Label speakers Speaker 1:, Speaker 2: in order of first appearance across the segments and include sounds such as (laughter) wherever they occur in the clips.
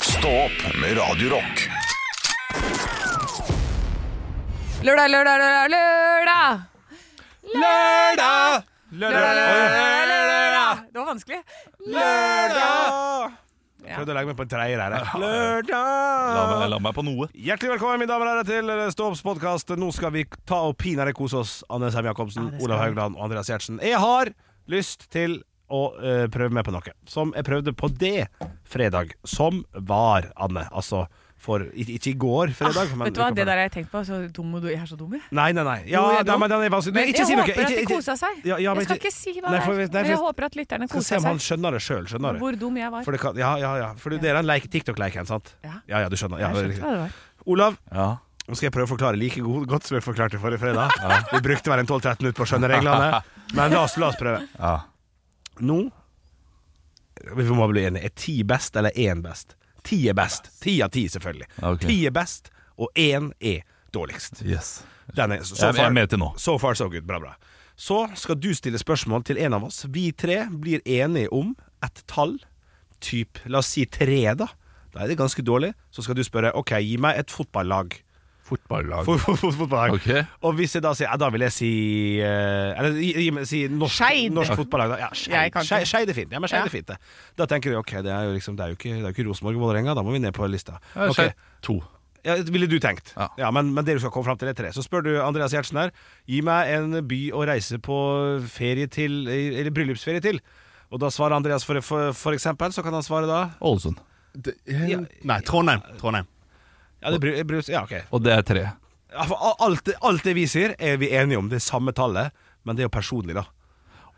Speaker 1: Stå opp med Radio Rock.
Speaker 2: Lørdag, lørdag, lørdag, lørdag!
Speaker 3: Lørdag!
Speaker 2: Lørdag, lørdag,
Speaker 3: Oi.
Speaker 2: lørdag! Det var vanskelig.
Speaker 3: Lørdag!
Speaker 2: Ja.
Speaker 4: Prøvde å legge meg på en treier her.
Speaker 3: La meg,
Speaker 4: jeg. (laughs) Lørdag!
Speaker 3: la meg på noe.
Speaker 4: Hjertelig velkommen, mine damer og herrer, til Ståopps podkast. Nå skal vi ta og pinadø kose oss, Anne Sem Jacobsen,
Speaker 2: det skal
Speaker 4: Olav
Speaker 2: vi.
Speaker 4: Haugland og Andreas Gjertsen. Jeg har lyst til å eh, prøve meg på noe, som jeg prøvde på det fredag som var, Anne. Altså for i- Ikke i går fredag,
Speaker 2: Ah,
Speaker 4: men
Speaker 2: vet du hva,
Speaker 4: uka
Speaker 2: det
Speaker 4: før.
Speaker 2: der har jeg tenkt på. Så dum og du, jeg er så dum, jeg.
Speaker 4: Nei, nei, nei. Ja,
Speaker 2: Jo, jeg
Speaker 4: nei,
Speaker 2: dro.
Speaker 4: men den er vanskelig. Nei,
Speaker 2: Men
Speaker 4: ikke
Speaker 2: jeg
Speaker 4: si noe.
Speaker 2: håper at de
Speaker 4: ikke- ikke-
Speaker 2: kosa seg.
Speaker 4: Ja, ja, men
Speaker 2: jeg skal ikke si hva
Speaker 4: Nei,
Speaker 2: det er,
Speaker 4: for- nei, for
Speaker 2: men
Speaker 4: jeg-
Speaker 2: jeg håper at lytterne
Speaker 4: Skal se
Speaker 2: koser
Speaker 4: om han
Speaker 2: seg.
Speaker 4: skjønner det sjøl, skjønner du.
Speaker 2: Hvor dum jeg var.
Speaker 4: For det kan, ja, ja, ja. For dere er en leik- TikTok-leiken, sant?
Speaker 2: Ja.
Speaker 4: ja, ja, du skjønner. Ja,
Speaker 2: Jeg skjønte hva det var.
Speaker 4: Olav,
Speaker 3: Ja.
Speaker 4: nå skal jeg prøve å forklare like god, godt som jeg forklarte forrige fredag. Vi brukte vel en 12-13 minutter på å skjønne reglene, men la oss, la oss prøve.
Speaker 3: Ja.
Speaker 4: Nå Vi må bli enige. Er ti best eller én best? Ti er best. Ti av ti, selvfølgelig.
Speaker 3: Ok.
Speaker 4: Ti er best, og én er dårligst.
Speaker 3: Yes.
Speaker 4: Den er so
Speaker 3: Jeg- jeg er med til nå.
Speaker 4: So far, so good. Bra, bra. Så skal du stille spørsmål til en av oss. Vi tre blir enige om et tall. Typ, la oss si tre, da. Da er det ganske dårlig. Så skal du spørre OK, gi meg et fotballag.
Speaker 3: Fotballag.
Speaker 4: Fot- fot- fot- fotballag.
Speaker 3: Ok.
Speaker 4: Og hvis jeg da sier ja, Da vil jeg si eh, Eller gi, gi meg si norsk,
Speaker 2: Skeid.
Speaker 4: norsk fotballag. da. Ja,
Speaker 2: Jeg
Speaker 4: Skeid
Speaker 2: kan ikke.
Speaker 4: Skeid- Skeid er fint. Ja, men Skeid
Speaker 2: Ja.
Speaker 4: er fint det. Da tenker du OK, det er jo, liksom, det er jo ikke, det er jo ikke Rosenborg og Vålerenga. Da må vi ned på lista.
Speaker 3: Ja,
Speaker 4: Ok.
Speaker 3: skjønt. To.
Speaker 4: Ja, det ville du tenkt. Ja,
Speaker 3: Ja.
Speaker 4: men, men det du skal komme fram til, er tre. Så spør du Andreas Gjertsen her. Gi meg en by å reise på ferie til, eller bryllupsferie til. Og da svarer Andreas for, for, for eksempel, så kan han svare da
Speaker 3: Ålesund.
Speaker 5: Det, nei, Trondheim. Trondheim.
Speaker 4: Ja, det er bry- bryllups... Ja, ok.
Speaker 3: Og det er tre.
Speaker 4: Ja, for a- alt, det- alt det vi sier, er vi enige om. Det er samme tallet, men det er jo personlig, da.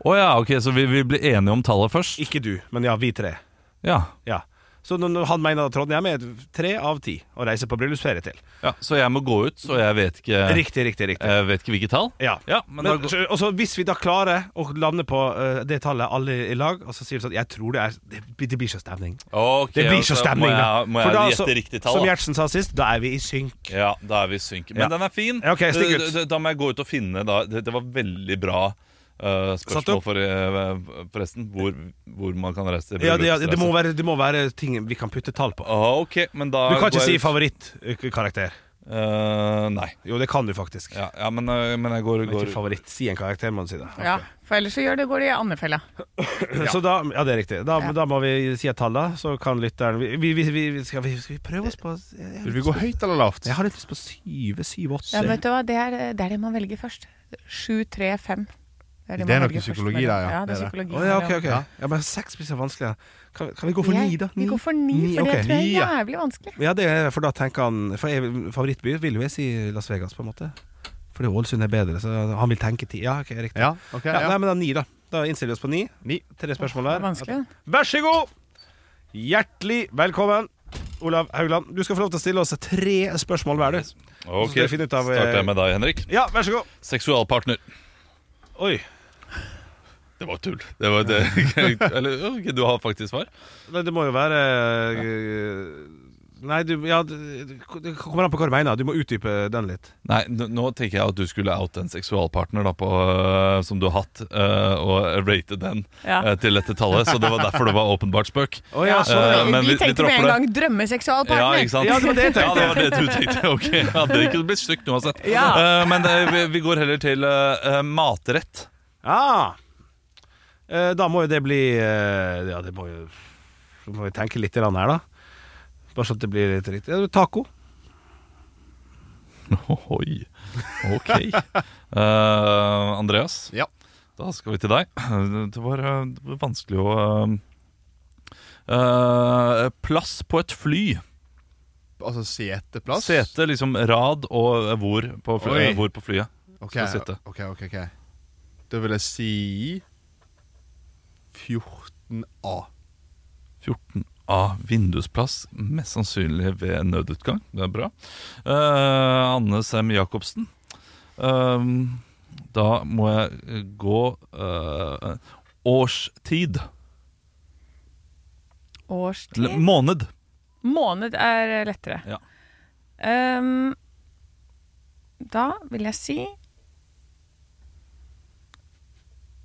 Speaker 3: Å ja, ok, så vi, vi blir enige om tallet først?
Speaker 4: Ikke du, men ja, vi tre.
Speaker 3: Ja.
Speaker 4: Ja. Så når- når han mener at Trondheim er tre av ti å reise på bryllupsferie til.
Speaker 3: ja. Så jeg må gå ut, så jeg vet ikke
Speaker 4: Riktig, riktig, riktig.
Speaker 3: Jeg vet ikke hvilket tall?
Speaker 4: Ja,
Speaker 3: men,
Speaker 4: men,
Speaker 3: da, går-
Speaker 4: så- og så Hvis vi da klarer å lande på eh, det tallet alle i lag, og så sier vi sånn Jeg tror det er Det, blir- det blir så stemning.
Speaker 3: Ok,
Speaker 4: Det blir
Speaker 3: og
Speaker 4: så
Speaker 3: så
Speaker 4: stemning,
Speaker 3: Må
Speaker 4: da.
Speaker 3: jeg, må
Speaker 4: For
Speaker 3: jeg
Speaker 4: da, så-
Speaker 3: gjette riktig tall?
Speaker 4: Som
Speaker 3: da?
Speaker 4: Gjertsen sa sist, da er vi i synk.
Speaker 3: Ja, da er vi i synk. Men
Speaker 4: Ja.
Speaker 3: den er fin.
Speaker 4: Ja, ok, stikk ut.
Speaker 3: Da- Da, da må jeg gå ut og finne da. Det, det var veldig bra eh,
Speaker 4: Satt
Speaker 3: spørsmål
Speaker 4: opp.
Speaker 3: for, eh, forresten. Hvor, hvor man kan reise.
Speaker 4: Ja, det, ja, det, må være, det må være ting vi kan putte tall på.
Speaker 3: Ah, ok, men da
Speaker 4: Du kan ikke
Speaker 3: går
Speaker 4: si
Speaker 3: jeg ut.
Speaker 4: favorittkarakter.
Speaker 3: Eh, nei.
Speaker 4: Jo, det kan du faktisk.
Speaker 3: Ja, ja men, eh, men jeg går,
Speaker 4: Men
Speaker 3: går
Speaker 4: Ikke favoritt. Si en karakter, må du si det.
Speaker 2: Ja, for ellers så gjør det, går det i andefella.
Speaker 4: (clears throat) Så da, ja, det er riktig. Da,
Speaker 2: Ja.
Speaker 4: da må vi si et tall, da. Så kan lytteren vi, vi, vi, vi, skal, vi, skal vi prøve oss på jeg, jeg,
Speaker 5: Vil vi gå høyt eller lavt?
Speaker 4: jeg har litt lyst på syv, syv, åtte.
Speaker 2: Ja, vet du hva, det er det, er det man velger først. Sju, tre, fem. er
Speaker 5: Det
Speaker 2: man
Speaker 5: er noe
Speaker 2: velger først
Speaker 5: psykologi
Speaker 2: mellom.
Speaker 5: der, ja.
Speaker 2: Ja, det
Speaker 5: Det
Speaker 2: er
Speaker 5: er det.
Speaker 2: psykologi.
Speaker 4: Å, ja, ok,
Speaker 2: mellom.
Speaker 4: ok ja. men seks blir så vanskelig. da. Kan, kan vi gå for
Speaker 2: Jeg-
Speaker 4: ni, da?
Speaker 2: Vi går for ni, for
Speaker 4: ok.
Speaker 2: det tror jeg
Speaker 5: Ni,
Speaker 2: er
Speaker 5: ja.
Speaker 2: jævlig vanskelig.
Speaker 4: Ja, det er, for da tenker han For jeg, favorittby vil jo jeg si Las Vegas, på en måte. Fordi Ålesund er bedre, så han vil tenke ti. Ja, ok, riktig.
Speaker 5: Ja, ok.
Speaker 4: Ja, nei,
Speaker 5: Ja.
Speaker 4: men da ni, da. Da innstiller vi oss på ni.
Speaker 5: Ni.
Speaker 4: Tre spørsmål
Speaker 2: Det er
Speaker 4: der.
Speaker 2: vanskelig, da.
Speaker 4: Vær så god! Hjertelig velkommen, Olav Haugland. Du skal få lov til å stille oss tre spørsmål hver, du.
Speaker 3: Ok,
Speaker 4: skal vi finne ut av, eh,
Speaker 3: starter jeg med deg, Henrik.
Speaker 4: Ja, vær så god.
Speaker 3: Seksualpartner.
Speaker 4: Oi.
Speaker 3: Det var tull. Det var det. (laughs) Eller, ok, du har faktisk svar?
Speaker 4: Men det må jo være eh, Nei, du Ja, det det kommer an på hva du mener. Du må utdype den litt.
Speaker 3: Nei, n- nå tenker jeg at du skulle oute en seksualpartner da, på, øh, som du har hatt, øh, og rate den
Speaker 2: Ja.
Speaker 3: øh, til dette tallet. Så det var derfor det var åpenbart spøk.
Speaker 4: Å, ja, sånn,
Speaker 3: Eh,
Speaker 4: ja.
Speaker 2: Vi-
Speaker 3: men vi-
Speaker 2: vi
Speaker 3: vi
Speaker 2: tenkte med
Speaker 3: dropper
Speaker 2: en
Speaker 3: det.
Speaker 2: gang
Speaker 3: Ja,
Speaker 2: drømmeseksualpartner.
Speaker 3: ikke sant?
Speaker 4: Ja, det var det jeg tenkte.
Speaker 3: Ja, det var det du tenkte. (laughs) Ok, ja, Det kunne blitt stygt uansett.
Speaker 2: Ja.
Speaker 3: Eh, men det, vi, vi går heller til eh, eh, matrett.
Speaker 4: Ah. Eh, da må jo det bli eh, Ja, det må jo så må vi tenke litt grann her, da. Bare så at det blir litt riktig. Ja, taco.
Speaker 3: Oi, ok. Eh, Andreas,
Speaker 5: Ja.
Speaker 3: da skal vi til deg. Det var, eh, det var vanskelig å eh, eh, Plass på et fly.
Speaker 5: Altså seteplass?
Speaker 3: Sete, liksom rad og eh, hvor på, fly,
Speaker 5: Oi.
Speaker 3: eh, hvor på flyet.
Speaker 5: Ok,
Speaker 3: Skal sitte.
Speaker 5: ok, ok, ok. Da vil jeg si 14A.
Speaker 3: 14A Ah, vindusplass, mest sannsynlig ved nødutgang. Det er bra. Eh, Anne Sem Jacobsen. Ehm, da må jeg eh, gå eh, årstid.
Speaker 2: Årstid.
Speaker 3: Eller måned.
Speaker 2: Måned er eh, lettere.
Speaker 3: Ja.
Speaker 2: Ehm, da vil jeg si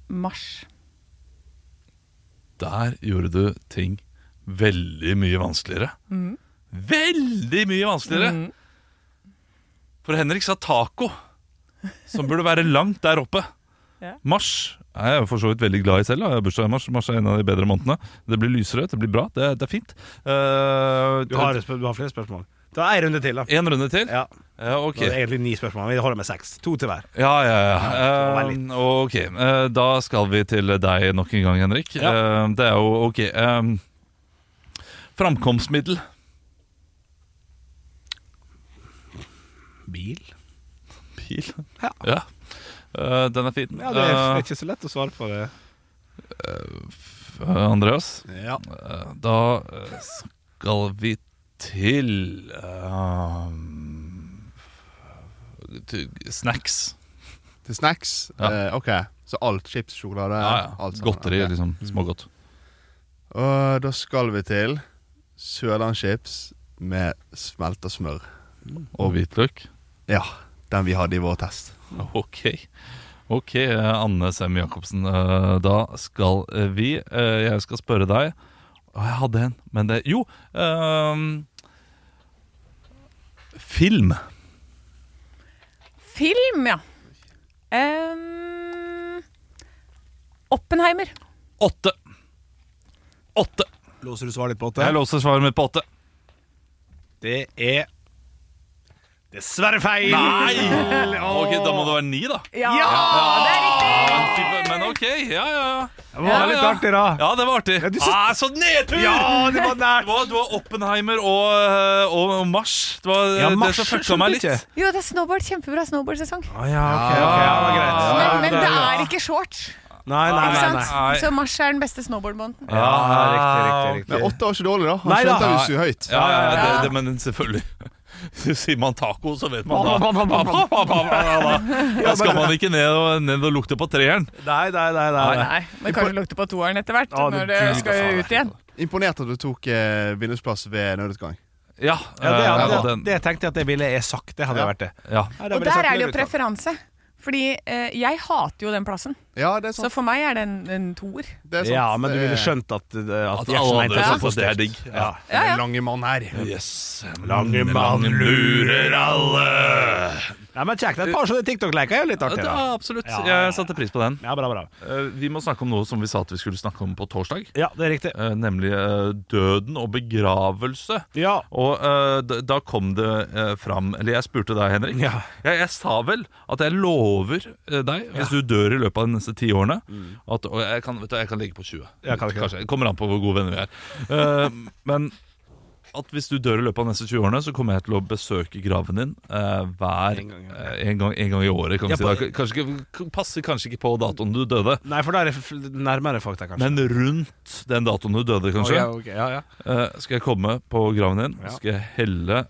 Speaker 2: mars.
Speaker 4: Mm.
Speaker 3: Der gjorde du ting veldig mye vanskeligere. veldig mye vanskeligere.
Speaker 2: Mm.
Speaker 3: For Henrik sa taco, som burde være langt der oppe.
Speaker 2: Ja.
Speaker 3: Mars er jeg jo for så vidt veldig glad i selv. da. Jeg har bursdag i mars. Mars er en av de bedre månedene. Det blir lyserødt, det blir bra, det, er- det er fint. Eh,
Speaker 4: Du har, et spør- du har flere spørsmål. Ta en runde til, da.
Speaker 3: En runde til?
Speaker 4: Ja,
Speaker 3: Ja,
Speaker 4: Det er
Speaker 3: ok.
Speaker 4: egentlig ni spørsmål. Vi holder med seks. To til hver.
Speaker 3: Ja, ja, ja.
Speaker 4: Ja, det
Speaker 3: Eh, ok, Eh, da skal vi til deg nok en gang, Henrik. Eh, det er jo ok. eh, framkomstmiddel.
Speaker 4: Bil?
Speaker 3: Bil.
Speaker 4: Ja.
Speaker 3: ja. Eh, den er fin.
Speaker 4: Ja, Det er ikke så lett å svare på det.
Speaker 3: Eh, Andreas?
Speaker 5: Ja.
Speaker 3: Eh, Da eh, skal vi til ehm, til Snacks.
Speaker 5: Til snacks?
Speaker 3: Ja.
Speaker 5: Eh, ok, så alt. Chips, sjokolade,
Speaker 3: Ja, ja.
Speaker 5: alt sammen.
Speaker 3: Godteri,
Speaker 5: Ok. Mm.
Speaker 3: liksom. Smågodt.
Speaker 5: Og da skal vi til Sørlandschips med smelta smør.
Speaker 3: Og hvitløk.
Speaker 5: Ja, den vi hadde i vår test.
Speaker 3: Ok. Ok, eh, Anne Sem Jacobsen. eh, Da skal eh, vi eh, Jeg skal spørre deg Å, jeg hadde en, men det Jo! ehm, film.
Speaker 2: Film, ja. Ehm, Oppenheimer.
Speaker 3: Åtte. Åtte.
Speaker 4: Låser du svaret ditt på
Speaker 3: Jeg låser svaret mitt på åtte.
Speaker 4: Det er dessverre feil! (laughs)
Speaker 3: Nei! Ok, Da må det være ni, da.
Speaker 2: Ja!
Speaker 3: det er riktig! Men ok, ja, ja. ja.
Speaker 4: Det var litt artig, da.
Speaker 3: Ja, det var artig.
Speaker 4: du
Speaker 3: Ja,
Speaker 4: synes-
Speaker 3: ah, så nedtur!
Speaker 4: Ja, det var
Speaker 3: Det
Speaker 4: nært!
Speaker 3: var, det var Oppenheimer og, eh, og, og Mars. Det var
Speaker 4: (laughs)
Speaker 3: eh,
Speaker 4: Ja,
Speaker 3: det
Speaker 4: Mars
Speaker 3: som fucka
Speaker 4: skjønte
Speaker 3: meg
Speaker 4: jeg
Speaker 3: litt.
Speaker 4: ikke.
Speaker 2: Jo, det er snowboard. Kjempebra snowboardsesong.
Speaker 4: Å ja, ok, ok, ja, det var greit.
Speaker 3: Ja,
Speaker 2: Men, men
Speaker 3: det er
Speaker 2: det
Speaker 3: bra.
Speaker 2: er ikke shorts,
Speaker 4: Nei, nei,
Speaker 2: ikke
Speaker 4: nei.
Speaker 2: sant?
Speaker 4: nei.
Speaker 3: nei.
Speaker 2: Så mars er den beste snowboardmåneden.
Speaker 4: Ja, riktig, riktig,
Speaker 5: Men
Speaker 4: riktig.
Speaker 5: åtte var ikke dårlig, da. Han
Speaker 4: Nei da.
Speaker 5: skjønte vi så høyt.
Speaker 3: Ja, ja, ja, det, det, men selvfølgelig. (laughs) Sier man taco, så vet man da. Da skal man ikke ned og, ned og lukte på treeren.
Speaker 4: Nei, nei, nei. nei, nei.
Speaker 2: Nei, men kanskje lukte på toeren etter hvert,
Speaker 4: Ja, men
Speaker 2: når det
Speaker 4: gud,
Speaker 2: skal
Speaker 4: faen.
Speaker 2: ut igjen.
Speaker 5: Imponert at du tok eh, vinnersplass ved nødutgang.
Speaker 3: Ja,
Speaker 4: Ja, det,
Speaker 3: eh,
Speaker 4: hadde, det,
Speaker 3: den-
Speaker 4: det tenkte jeg at det ville jeg sagt. Det hadde
Speaker 5: Ja.
Speaker 4: vært det.
Speaker 3: ja.
Speaker 4: Nei, det
Speaker 2: Og
Speaker 4: ville jeg
Speaker 2: der
Speaker 4: sagt
Speaker 2: er det jo
Speaker 4: Løvetann.
Speaker 2: preferanse. Fordi eh, jeg hater jo den plassen,
Speaker 5: Ja, det er
Speaker 2: så
Speaker 5: sant.
Speaker 2: for meg er det en, en toer.
Speaker 5: Det er sant. Eh,
Speaker 4: Ja, men du
Speaker 5: Det er-
Speaker 4: ville skjønt at, uh, at,
Speaker 3: At
Speaker 4: Jackson
Speaker 3: alle
Speaker 4: mente
Speaker 3: andre synes
Speaker 4: var
Speaker 3: at det er
Speaker 4: positivt.
Speaker 3: digg.
Speaker 4: Ja.
Speaker 5: Ja, det er en lange mann her.
Speaker 3: Yes.
Speaker 4: Lange mann lurer
Speaker 3: alle.
Speaker 4: Nei, men kjekt. Et par sånne TikTok-leker er jo litt
Speaker 3: Ja,
Speaker 4: artig,
Speaker 3: det
Speaker 4: da.
Speaker 3: var absolutt.
Speaker 4: Ja, ja, ja.
Speaker 3: Jeg satte pris på den.
Speaker 4: Ja, bra, bra.
Speaker 3: Eh, Vi må snakke om noe som vi sa at vi skulle snakke om på torsdag.
Speaker 4: Ja, det er riktig.
Speaker 3: eh, Nemlig eh, døden og begravelse.
Speaker 4: Ja.
Speaker 3: Og eh, d- da kom det eh, fram Eller jeg spurte deg, Henrik.
Speaker 4: Ja.
Speaker 3: Jeg, jeg sa vel at jeg lover eh, deg, hvis du dør i løpet av de neste ti årene at, Og jeg kan, vet du, jeg kan legge på 20.
Speaker 4: Ja, Mm. kan ikke det.
Speaker 3: Kanskje. Det kommer an på hvor gode venner vi er. Eh, (laughs) men at hvis du dør i løpet av de neste 20 årene, så kommer jeg til å besøke graven din eh, hver
Speaker 4: En gang, ja.
Speaker 3: eh, en, gang, en gang i året. Kan vi
Speaker 4: Ja,
Speaker 3: si. da.
Speaker 4: på-
Speaker 3: K- Kanskje, ikke- passer kanskje ikke på datoen du døde.
Speaker 4: Nei, for da er det f- nærmere fakta, kanskje.
Speaker 3: Men rundt den datoen du døde,
Speaker 4: Å,
Speaker 3: kanskje,
Speaker 4: ja, ok, ja, ja.
Speaker 3: eh, skal jeg komme på graven din,
Speaker 4: Ja.
Speaker 3: skal jeg helle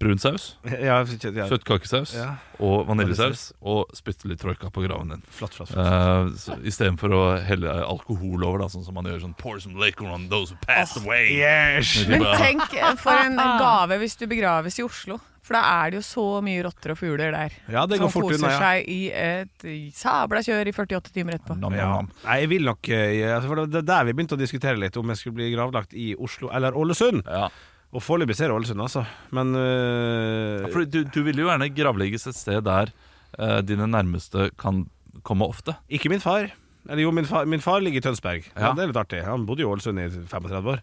Speaker 3: brun saus,
Speaker 4: Ja, ikke- ja.
Speaker 3: kjøttkakesaus
Speaker 4: Ja.
Speaker 3: og vaniljesaus, og spytte litt troika på graven din.
Speaker 4: Flott, flott. flott.
Speaker 3: Uh, Istedenfor å helle alkohol over, da, sånn som man gjør sånn Pour some liquor on those who passed away.
Speaker 4: Yes!
Speaker 3: Det er
Speaker 2: Men
Speaker 3: bra.
Speaker 2: tenk eh, for (laughs) en gave hvis du begraves i Oslo. For da er det jo så mye rotter og fugler der.
Speaker 4: Ja, det
Speaker 2: Som
Speaker 4: går fort
Speaker 2: koser
Speaker 4: unna, ja.
Speaker 2: seg i et sabla kjør i 48 timer etterpå.
Speaker 3: Nam, nam,
Speaker 4: Ja.
Speaker 3: nam.
Speaker 4: Nei, jeg vil nok eh, ja, For det det er der vi begynte å diskutere litt om jeg skulle bli gravlagt i Oslo eller Ålesund.
Speaker 3: Ja.
Speaker 4: Og foreløpig så er det Ålesund, altså. Men eh,
Speaker 3: For du, du vil jo gjerne gravlegges et sted der eh, dine nærmeste kan komme ofte.
Speaker 4: Ikke min far. Eller jo, min far, min far ligger i Tønsberg. Ja.
Speaker 3: Ja.
Speaker 4: det er litt artig. Han bodde i Ålesund i 35 år.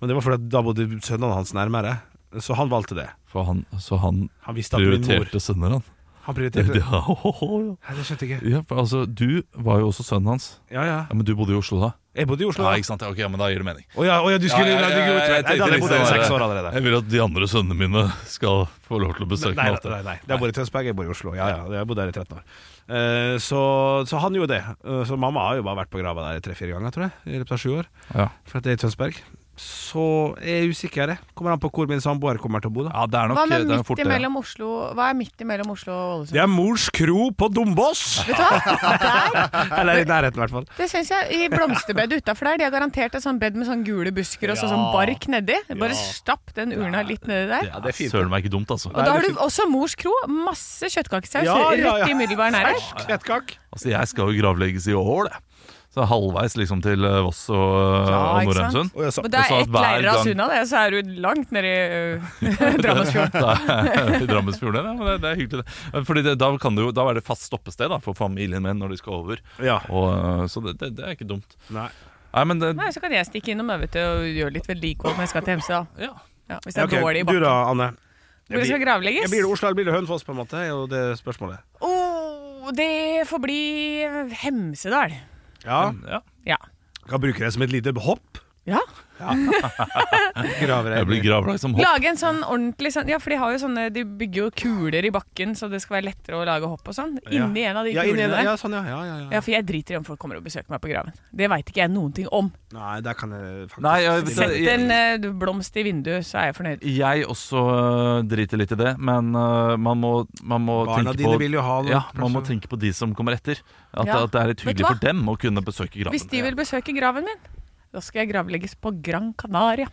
Speaker 4: Men det var fordi at da bodde sønnene hans nærmere, så han valgte det.
Speaker 3: For han, så han
Speaker 4: Han visste at min mor
Speaker 3: prioriterte sønner, han.
Speaker 4: Han prioriterte
Speaker 3: (laughs)
Speaker 4: det.
Speaker 3: Ja, ho, ho, ja.
Speaker 4: Nei, det skjønte jeg ikke.
Speaker 3: Ja, for altså, du var jo også sønnen hans.
Speaker 4: Ja, ja.
Speaker 3: Ja, Men du bodde i Oslo da?
Speaker 4: Jeg bodde i Oslo.
Speaker 3: Ja,
Speaker 4: da.
Speaker 3: ikke sant? Ja, Ok, ja, men da gir det mening.
Speaker 4: Å ja, å ja, du skulle
Speaker 3: Ja, ja,
Speaker 4: nei, du
Speaker 3: ja,
Speaker 4: kunne
Speaker 3: ja, jeg
Speaker 4: Nei, da hadde jeg
Speaker 3: tenkte
Speaker 4: bodd i
Speaker 3: liksom
Speaker 4: seks
Speaker 3: bare-
Speaker 4: år allerede.
Speaker 3: Jeg vil at de andre sønnene mine skal få lov til å
Speaker 4: Nei,
Speaker 3: besøke
Speaker 4: nei,
Speaker 3: meg ofte.
Speaker 4: nei, nei. Jeg bor i Tønsberg, jeg bor i Oslo. Ja, ja, jeg har bodd der i 13 år. Eh, så, så han gjorde det. Eh, så mamma har jo bare vært på grava der tre-fire ganger, tror jeg, i løpet av sju år.
Speaker 3: Ja.
Speaker 4: For at det er i Tønsberg. Så er jeg usikker, jeg. Kommer an på hvor min samboer kommer til å bo, da.
Speaker 3: Ja, det er nok
Speaker 2: Hva, med
Speaker 3: det er fort
Speaker 2: midt
Speaker 3: det.
Speaker 2: imellom Oslo, hva er midt imellom Oslo og Ålesund?
Speaker 4: Det er mors kro på (laughs) Dombås!
Speaker 2: Vet du hva? Der,
Speaker 4: Eller i nærheten, i hvert fall.
Speaker 2: det syns jeg. I blomsterbedet utafor der. De har garantert et sånn bed med sånn gule busker og så sånn bark nedi. Bare stapp den urna litt nedi der.
Speaker 3: Ja,
Speaker 4: det er fint.
Speaker 3: Søren meg ikke dumt, altså.
Speaker 2: Og da har du også mors kro. Masse kjøttkakesaus
Speaker 4: Ja, ja, ja.
Speaker 2: rett i umiddelbar nærhet.
Speaker 4: Kvettkak.
Speaker 3: Altså, Jeg skal jo gravlegges i år, det. Så halvveis liksom til eh, Voss og,
Speaker 2: Ja,
Speaker 3: og
Speaker 2: ikke sant?
Speaker 3: Norheimsund.
Speaker 4: Og jeg sa,
Speaker 2: Men det
Speaker 3: Og så
Speaker 2: er
Speaker 3: at
Speaker 2: ett
Speaker 3: hver
Speaker 2: leirras
Speaker 3: gang-
Speaker 2: unna, det, så er du langt nedi øh. Drammensfjorden.
Speaker 3: (laughs) Da er- I Drammensfjorden, ja. men Det, det er hyggelig, det. Fordi det, da, kan det jo, da er det fast stoppested da, for familien min når de skal over.
Speaker 4: ja.
Speaker 3: Og, eh, så det, det, det er ikke dumt.
Speaker 4: Nei.
Speaker 3: Nei, men det,
Speaker 2: Nei, så kan jeg stikke innom jeg, vet du, og gjøre litt vedlikehold når jeg skal til Hemsedal.
Speaker 3: ja.
Speaker 2: Ja, hvis det er
Speaker 4: Ok,
Speaker 2: dårlig i
Speaker 4: Du
Speaker 2: bakken.
Speaker 4: da, Anne?
Speaker 2: Hvor det skal gravlegges?
Speaker 4: Jeg blir det Oslo eller blir det Hønefoss, på en måte? er jo det spørsmålet.
Speaker 2: Oh, det får bli Hemsedal.
Speaker 4: Ja.
Speaker 3: ja.
Speaker 2: Ja.
Speaker 4: Kan bruke det som et lite hopp.
Speaker 2: ja.
Speaker 4: Graver
Speaker 3: Jeg blir gravlagt som hopp.
Speaker 2: Lage en sånn ordentlig sånn Ja, for de har jo sånne De bygger jo kuler i bakken, så det skal være lettere å lage hopp og sånn. Inni en av de
Speaker 4: ja, inni
Speaker 2: kulene
Speaker 4: en-
Speaker 2: der.
Speaker 4: Ja, sånn, ja. Ja, ja, ja.
Speaker 2: Ja, for jeg driter i om folk kommer og besøker meg på graven. Det veit ikke jeg noen ting om.
Speaker 4: Nei, der kan jeg faktisk
Speaker 3: Nei, jeg-
Speaker 4: stille
Speaker 2: Sett
Speaker 4: meg.
Speaker 2: en eh, blomst i vinduet, så er jeg fornøyd.
Speaker 3: Jeg også øh, driter litt i det, men øh, man må, man må
Speaker 4: Barna
Speaker 3: tenke
Speaker 4: dine
Speaker 3: på
Speaker 4: vil jo ha noe.
Speaker 3: ja, man må tenke på de som kommer etter. At,
Speaker 2: Ja.
Speaker 3: at det er litt
Speaker 2: Vet du
Speaker 3: hyggelig
Speaker 2: hva?
Speaker 3: for dem å kunne besøke graven.
Speaker 2: Hvis de vil besøke graven min, da skal jeg gravlegges på Gran Canaria.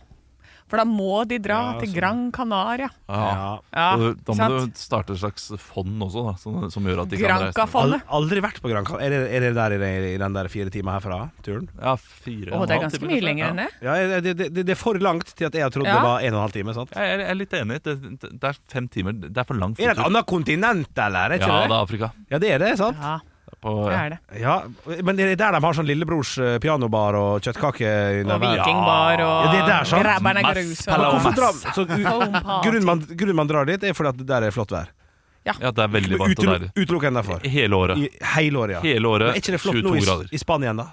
Speaker 2: For da må de dra
Speaker 4: Ja,
Speaker 2: til
Speaker 4: sånn.
Speaker 2: Gran Canaria.
Speaker 3: Ja.
Speaker 4: Ja.
Speaker 2: Ja,
Speaker 3: Og da må
Speaker 2: sant?
Speaker 3: du starte et slags fond også, da, som, som gjør at de kan reise.
Speaker 4: Al-
Speaker 2: Granca-fondet.
Speaker 4: Aldri vært på Gran Canaria. Er, det- er det der i, den- i den der fire timer herfra? Turen?
Speaker 3: Ja, fire
Speaker 2: Å,
Speaker 3: og en
Speaker 2: det er
Speaker 3: halv
Speaker 2: ganske
Speaker 3: time,
Speaker 2: mye
Speaker 3: kanskje.
Speaker 2: lenger
Speaker 3: Ja.
Speaker 2: enn det.
Speaker 4: Ja, er det, det, det er for langt til at jeg trodde
Speaker 2: Ja.
Speaker 4: det var en og en halv time. sant?
Speaker 3: Jeg er, jeg er litt enig. Det, det det er fem timer. Det er for lang
Speaker 4: Er det et
Speaker 3: flytur.
Speaker 4: annet kontinent, eller?
Speaker 3: Ja,
Speaker 4: Er ikke
Speaker 3: det
Speaker 4: det?
Speaker 3: er Afrika.
Speaker 4: ja, det er det, sant?
Speaker 2: Ja,
Speaker 3: På,
Speaker 2: det er det.
Speaker 4: Ja, Men er det der de har sånn lillebrors eh, pianobar og kjøttkake?
Speaker 2: Og vikingbar og
Speaker 4: Ja, det er der, sant?
Speaker 2: Grabberne
Speaker 3: Mass
Speaker 2: Grus og-
Speaker 3: Palau-
Speaker 4: Hvorfor
Speaker 3: Palomas.
Speaker 4: drar så, u- (laughs) grunnen, man, grunnen man drar dit, er fordi at der er flott vær.
Speaker 3: ja, det er veldig varmt og
Speaker 4: Utelukkende
Speaker 3: deilig.
Speaker 4: utelukkende derfor.
Speaker 3: Hele året.
Speaker 4: I hele året, ja.
Speaker 3: Hele
Speaker 4: Men
Speaker 3: året
Speaker 4: er ikke det
Speaker 3: 22
Speaker 4: flott nå i,
Speaker 3: grader.
Speaker 4: i Spania igjen, da?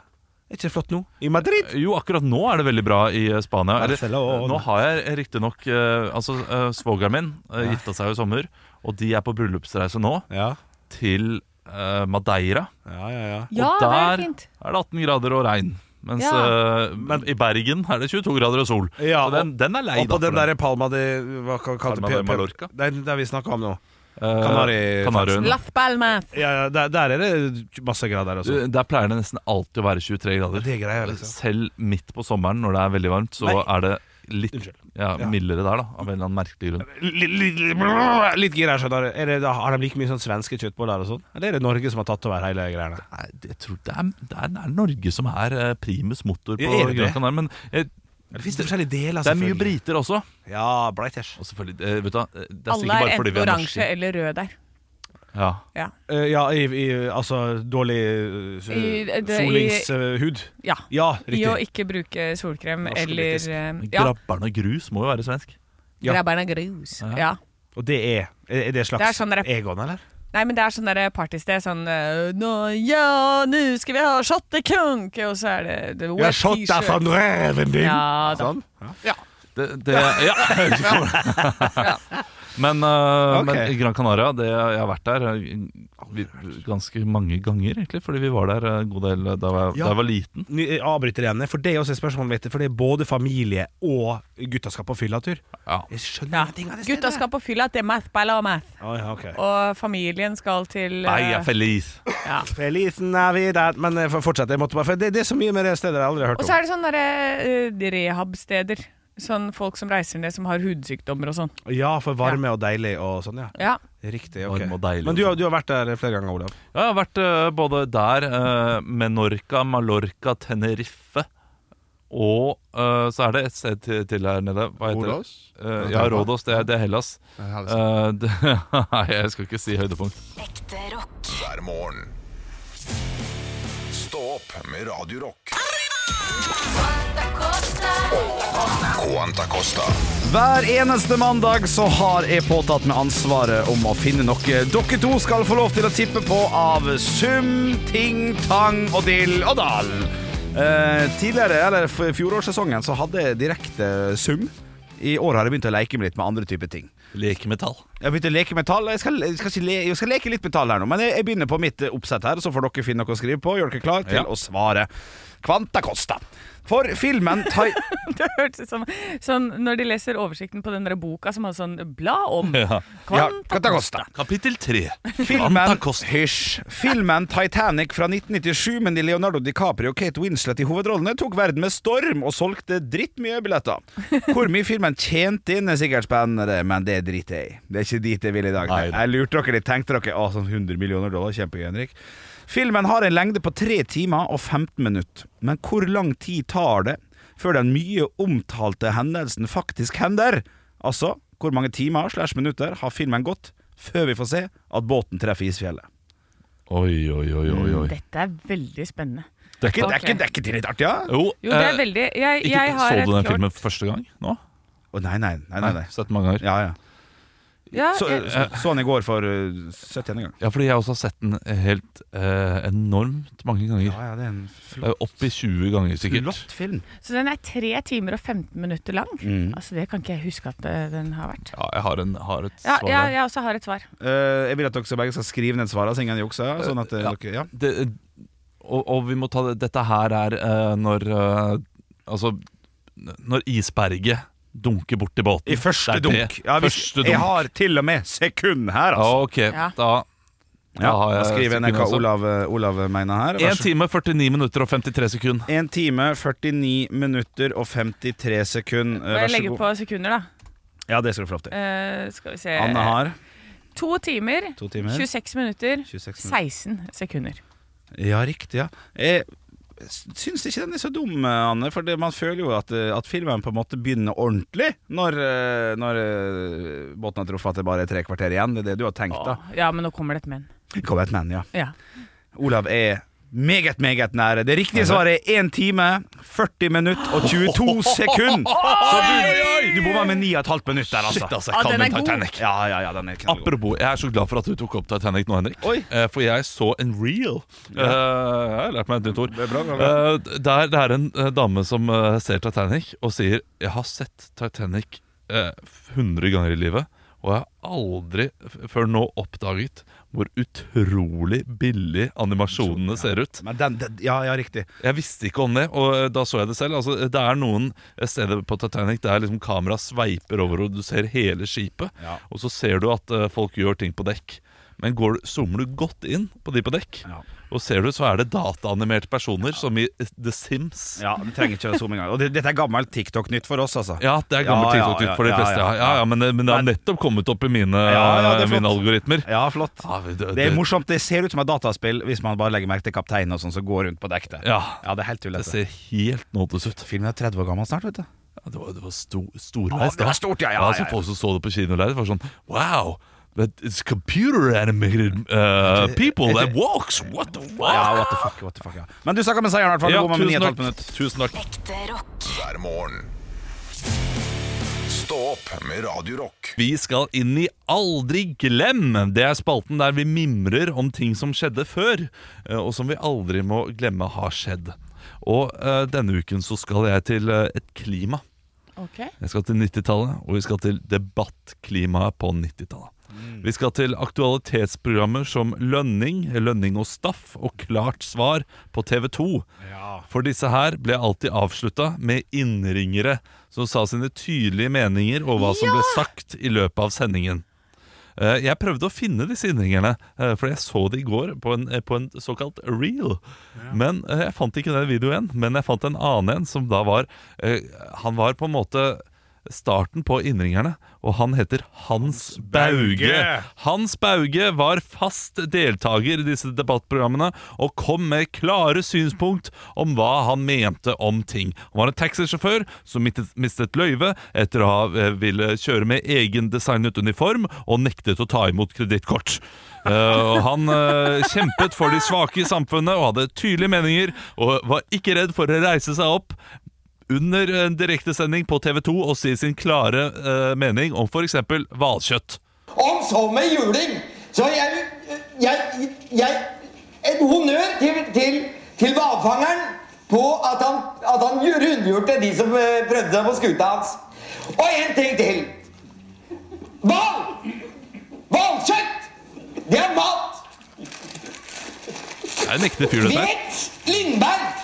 Speaker 4: Er ikke det flott nå? I Madrid?
Speaker 3: Jo, akkurat nå er det veldig bra i eh, Spania. Eller,
Speaker 4: Barcelona.
Speaker 3: nå har jeg riktignok eh, Altså, eh, svogeren min eh, gifta seg jo i sommer, og de er på bryllupsreise nå
Speaker 4: Ja,
Speaker 3: til eh, Madeira.
Speaker 4: ja, ja. ja.
Speaker 2: Ja,
Speaker 3: og
Speaker 2: det
Speaker 3: der
Speaker 2: er fint.
Speaker 3: er det 18 grader og regn. Mens
Speaker 2: Ja.
Speaker 3: eh, men, i Bergen er det 22 grader og sol.
Speaker 4: Ja,
Speaker 3: så den, den er lei,
Speaker 4: Og på
Speaker 3: da.
Speaker 4: den der Palma de Hva ka- kalte
Speaker 3: Palma de
Speaker 4: Pe- Pe-
Speaker 3: Mallorca.
Speaker 4: Den der vi snakka om nå.
Speaker 3: Eh,
Speaker 4: Kanari-
Speaker 3: Kanariøyene.
Speaker 2: Laff Balmath.
Speaker 4: Ja, ja, der, der er det masse grader også.
Speaker 3: Du, Der pleier det nesten alltid å være 23 grader.
Speaker 4: Det greier jeg, liksom.
Speaker 3: Selv midt på sommeren når det er veldig varmt, så
Speaker 4: Nei.
Speaker 3: er det litt
Speaker 4: Unnskyld.
Speaker 3: ja,
Speaker 4: Ja.
Speaker 3: mildere der, da. Av en eller annen merkelig grunn.
Speaker 4: Litt, litt, litt, litt gira, skjønner du. Er det, da har de like mye sånn svenske kjøttboller og sånn? Eller er det Norge som har tatt over hele greiene?
Speaker 3: Nei, det- jeg tror det er, det er, det er Norge som er eh, primus motor på
Speaker 4: Ja, er det det?
Speaker 3: Gran Canaria. Men eh,
Speaker 4: Det finnes det forskjellige deler,
Speaker 3: det er mye
Speaker 4: selvfølgelig.
Speaker 3: briter også.
Speaker 4: Ja, Breiters.
Speaker 3: Og selvfølgelig, eh, vet du, hva, eh, det er
Speaker 2: Alle
Speaker 3: sikkert
Speaker 2: er
Speaker 3: bare fordi
Speaker 2: enten
Speaker 3: vi er
Speaker 2: oransje
Speaker 3: norske.
Speaker 2: eller rød der.
Speaker 3: Ja.
Speaker 2: Ja.
Speaker 4: Eh, ja, i, i altså dårlig eh,
Speaker 2: I- det- i-
Speaker 4: solingshud.
Speaker 2: ja.
Speaker 4: ja,
Speaker 2: I å
Speaker 4: riktig.
Speaker 2: ikke bruke solkrem
Speaker 4: Norsk
Speaker 2: eller
Speaker 4: politisk.
Speaker 2: eh,
Speaker 3: Men
Speaker 2: Ja,
Speaker 3: Grabberne Grus må jo være svensk.
Speaker 4: Ja.
Speaker 2: Grabberne Grus.
Speaker 3: Ja.
Speaker 2: Ja.
Speaker 4: Og det er Er det slags
Speaker 2: Det er sånn dere-
Speaker 4: Egon, eller?
Speaker 2: Nei, men det er sånn der partysted. Sånn eh, nå, Ja, nå skal vi ha shottekunk! Og så er det, det
Speaker 4: Jeg har shot deg fra reven din!
Speaker 2: Ja da.
Speaker 4: Sånn.
Speaker 3: Det, det, ja. men, eh,
Speaker 4: Ok.
Speaker 3: men Gran Canaria, det, jeg har vært der eh, vi, ganske mange ganger, egentlig. Fordi vi var der eh, en god del eh, da jeg,
Speaker 4: Ja.
Speaker 3: da jeg var liten.
Speaker 4: Ny- jeg Avbryter igjen, for det er også et spørsmål mitt. For det er både familie og gutta skal på fyllatur.
Speaker 3: Ja.
Speaker 4: Jeg skjønner
Speaker 2: Ja.
Speaker 4: ingenting av det
Speaker 2: Gutta skal på fylla til math, balla og math.
Speaker 4: Å, ja, ok.
Speaker 2: Og familien skal til eh,
Speaker 3: Nei, jeg er feliz.
Speaker 2: ja.
Speaker 4: Feliz Navidad Men eh, for- fortsett, jeg måtte bare For det, det er så mye med det stedet jeg aldri har hørt
Speaker 2: Og
Speaker 4: om.
Speaker 2: så er det sånne der, eh, rehabsteder. Sånn folk som reiser ned som har hudsykdommer og sånn.
Speaker 4: Ja, for varme og deilig og sånn, ja.
Speaker 2: Ja.
Speaker 4: Riktig. ok
Speaker 3: Varm og deilig
Speaker 4: Men du,
Speaker 3: og
Speaker 4: har- du har vært der flere ganger, Olav.
Speaker 3: Ja, Jeg har vært eh, både der, eh, Menorca, Mallorca, Tenerife Og eh, så er det et sted til, til her nede. Hva heter det?
Speaker 5: Rodos?
Speaker 3: Eh, ja, Rådås. Det, er- det er Hellas.
Speaker 5: Nei, Hellas.
Speaker 3: Eh, det, (laughs) nei, jeg skal ikke si høydepunkt.
Speaker 6: Ekte rock.
Speaker 1: hver morgen. Stå opp med Radio Rock. Quanta Costa.
Speaker 7: Hver eneste mandag så har jeg påtatt meg ansvaret om å finne noe dere to skal få lov til å tippe på av sum, ting, tang og dill og dal. Eh, tidligere, eller f- fjorårssesongen, så hadde jeg direkte sum. I år har jeg begynt å leke meg litt med andre typer ting.
Speaker 3: Leke med tall.
Speaker 7: Jeg har begynt å leke med tall. Jeg skal, jeg skal, ikke le, jeg skal leke litt med tall her nå, men jeg, jeg begynner på mitt eh, oppsett her, så får dere finne noe å skrive på. Gjør dere klar til
Speaker 3: Ja.
Speaker 7: å svare. Kvanta Costa. For filmen Tai...
Speaker 2: (laughs)
Speaker 3: (laughs)
Speaker 2: Det hørtes ut som sånn, når de leser oversikten på den der boka som har sånn blad om
Speaker 7: Ja,
Speaker 3: Ja.
Speaker 2: kvanta
Speaker 7: Kvanta Costa.
Speaker 3: Kapittel tre.
Speaker 7: Filmen,
Speaker 3: Quanta Costa.
Speaker 7: hysj, filmen Titanic fra 1997 med Leonardo DiCaprio og Kate Winslet i hovedrollene tok verden med storm og solgte drittmye billetter. Hvor mye filmen tjente inn er sikkert spennende, det, men det driter jeg i. Det er ikke dit jeg vil i dag.
Speaker 3: Nei da.
Speaker 7: Jeg lurte dere litt, tenkte dere å, sånn 100 millioner dollar, kjempegøy, Henrik.
Speaker 4: Filmen har en lengde på 3 timer og 15 minutter, men hvor lang tid tar det før den mye omtalte hendelsen faktisk hender? Altså, hvor mange timer slash minutter har filmen gått før vi får se at båten treffer isfjellet?
Speaker 3: Oi, oi, oi, oi, oi.
Speaker 2: Dette er veldig spennende.
Speaker 4: Det er ikke, det er
Speaker 2: Ok.
Speaker 4: ikke, det er ikke direkt artig, ja?
Speaker 3: Jo,
Speaker 2: Jo, det er
Speaker 3: eh,
Speaker 2: veldig Jeg,
Speaker 3: ikke,
Speaker 2: jeg har
Speaker 3: Så
Speaker 2: et
Speaker 3: du den
Speaker 2: klart-
Speaker 3: filmen første gang nå?
Speaker 4: Å, nei, nei, nei, nei, nei.
Speaker 3: Sett den mange ganger.
Speaker 4: Ja, ja.
Speaker 2: Ja,
Speaker 4: Så,
Speaker 2: jeg,
Speaker 4: så, så han i går for uh, 70. gang.
Speaker 3: Ja, fordi jeg også har sett den helt eh, enormt mange ganger.
Speaker 4: ja, det er en
Speaker 3: Det er jo Opp i 20 ganger sikkert.
Speaker 4: flott film.
Speaker 2: så den er 3 timer og 15 minutter lang.
Speaker 4: Mm.
Speaker 2: Altså Det kan ikke jeg huske at eh, den har vært.
Speaker 3: Ja, jeg har, en, har et
Speaker 2: Ja,
Speaker 3: svar.
Speaker 2: ja,
Speaker 3: der.
Speaker 2: jeg også har et svar.
Speaker 4: Eh, jeg vil at dere begge skal skrive ned svarene, så ingen jukser. Sånn at eh,
Speaker 3: Ja.
Speaker 4: dere, ja.
Speaker 3: det, eh, og, og vi må ta det Dette her er eh, når eh, Altså Når isberget dunker bort i båten
Speaker 4: I
Speaker 3: Det
Speaker 4: første
Speaker 3: er det.
Speaker 4: dunk. Ja, hvis,
Speaker 3: første dunk
Speaker 4: Jeg har til og med sekund her,
Speaker 3: Ja,
Speaker 4: altså.
Speaker 3: ok
Speaker 2: Ja.
Speaker 3: Da,
Speaker 4: Ja,
Speaker 3: da har
Speaker 4: da
Speaker 3: jeg
Speaker 4: skriver jeg ned
Speaker 3: sekund altså. også.
Speaker 4: hva Olav, eh, Olav mener her. Vær
Speaker 3: 1
Speaker 4: så-
Speaker 3: time, 49 minutter og 53 sekunder
Speaker 4: 1 time, 49 minutter og 53 sekund. Eh,
Speaker 2: Og
Speaker 4: Vær
Speaker 2: jeg
Speaker 4: så
Speaker 2: legger
Speaker 4: god.
Speaker 2: på sekunder, da.
Speaker 4: Ja, det skal du få lov til.
Speaker 2: Eh, skal vi se
Speaker 4: Anne har Mm.
Speaker 2: To timer,
Speaker 4: to timer.
Speaker 2: 26 minutter,
Speaker 4: 26 minutter.
Speaker 2: 16 sekunder.
Speaker 4: Ja, riktig. ja Jeg syns ikke den er så dum, eh, Anne. For det, man føler jo at, eh, at filmen på en måte begynner ordentlig når, eh, når eh, båten har truffet at det bare er tre kvarter igjen. Det er det du har tenkt, da.
Speaker 2: Åh, ja, men nå kommer det et men.
Speaker 4: Kom et men, ja.
Speaker 2: Ja.
Speaker 4: Olav er meget, meget nære. Det riktige svaret er 1 time, 40 minutter og (laughs) 22 sekunder. Så du, du bomma med 9,5 minutt der, altså.
Speaker 2: jeg Ja, kan den min er god.
Speaker 3: Titanic.
Speaker 4: Ja, ja, ja, den er knallgod.
Speaker 3: Apropos, jeg er så glad for at du tok opp Titanic nå, Henrik
Speaker 4: Oi.
Speaker 3: Eh, For jeg så en reel Eh, Jeg har lært meg et nytt ord
Speaker 4: Det er bra, bra,
Speaker 3: Eh, der, Det er en eh, dame som eh, ser Titanic Og sier Jeg har sett Titanic eh, 100 ganger i livet Og jeg har aldri f- før nå oppdaget Hvor utrolig billig animasjonene ser ut
Speaker 4: Men den, den, ja, ja, riktig.
Speaker 3: jeg visste ikke om det, og eh, da så jeg det selv. Altså, det er noen steder på Titanic der liksom kameraet sveiper over, og du ser hele skipet.
Speaker 4: Ja.
Speaker 3: Og så ser du at eh, folk gjør ting på dekk. Men går, du- zoomer du godt inn på de på dekk,
Speaker 4: Ja.
Speaker 3: og ser du, så er det dataanimerte personer, som i eh, The Sims. Ja.
Speaker 4: Ja, Du trenger ikke å zoome engang. Og det, dette er gammelt TikTok-nytt for oss, altså.
Speaker 3: det er gammel
Speaker 4: Ja, ja,
Speaker 3: TikTok-nytt for
Speaker 4: ja,
Speaker 3: de fleste. Ja,
Speaker 4: ja,
Speaker 3: ja, ja, men, det- men det har
Speaker 4: Men-
Speaker 3: nettopp kommet opp i mine,
Speaker 4: Ja, ja, det er flott.
Speaker 3: mine algoritmer.
Speaker 4: Ja, flott.
Speaker 3: Ja, det-
Speaker 4: Det er
Speaker 3: det-
Speaker 4: morsomt. Det ser ut som et dataspill hvis man bare legger merke til kapteinen og sånn som går rundt på dekk der.
Speaker 3: Ja,
Speaker 4: ja, det er helt
Speaker 3: det
Speaker 4: tullete.
Speaker 3: ser helt nådes ut.
Speaker 4: Filmen er 30 år gammel snart, vet du.
Speaker 3: Ja, det var, det var sto, storreist.
Speaker 4: Å, det var stort,
Speaker 3: så
Speaker 4: ja, ja, ja, ja.
Speaker 3: altså, Folk som så det på kinolerret, var sånn Wow! That it's computer animated uh, people that walks! What the
Speaker 4: Ja,
Speaker 3: fuck?
Speaker 4: what the fuck, what the fuck, ja. Men du snakka med seieren i hvert fall.
Speaker 3: Ja,
Speaker 4: Du bomma med
Speaker 3: tusen
Speaker 4: 9,5
Speaker 3: takk.
Speaker 4: minutter.
Speaker 3: Tusen takk.
Speaker 8: Ekte rock.
Speaker 1: hver morgen. Stå opp med Radio Rock.
Speaker 3: Vi skal inn i Aldri glem. Det er spalten der vi mimrer om ting som skjedde før, eh, og som vi aldri må glemme har skjedd. Og eh, denne uken så skal jeg til eh, et klima.
Speaker 2: Ok
Speaker 3: Jeg skal til 90-tallet, og vi skal til debattklimaet på 90-tallet. Vi skal til aktualitetsprogrammer som Lønning, Lønning og Staff og Klart svar på TV 2. For disse her ble alltid avslutta med innringere som sa sine tydelige meninger og hva som ble sagt i løpet av sendingen. Eh, Jeg prøvde å finne disse innringerne, eh, for jeg så det i går på en, eh, på en såkalt reel. Men eh, jeg fant ikke den videoen, men jeg fant en annen en som da var eh, Han var på en måte starten på innringerne, og han heter Hans Bauge. Hans Bauge var fast deltaker i disse debattprogrammene og kom med klare synspunkt om hva han mente om ting. Han var en taxisjåfør som mistet- mistet løyve etter å ha eh, ville kjøre med egendesignet uniform og nektet å ta imot kredittkort. Eh, og han eh, kjempet for de svake i samfunnet og hadde tydelige meninger og var ikke redd for å reise seg opp under en direktesending på TV 2 og si sin klare eh, mening om f.eks. hvalkjøtt.
Speaker 9: Om så med juling, så jeg, jeg, jeg En honnør til, til, til hvalfangeren på at han, at han rundgjorde de som eh, prøvde seg på skuta hans. Og en ting til. Hval! Hvalkjøtt! Det er mat.
Speaker 3: Det er en ekte fyr, dette. her.
Speaker 9: Vet Lindberg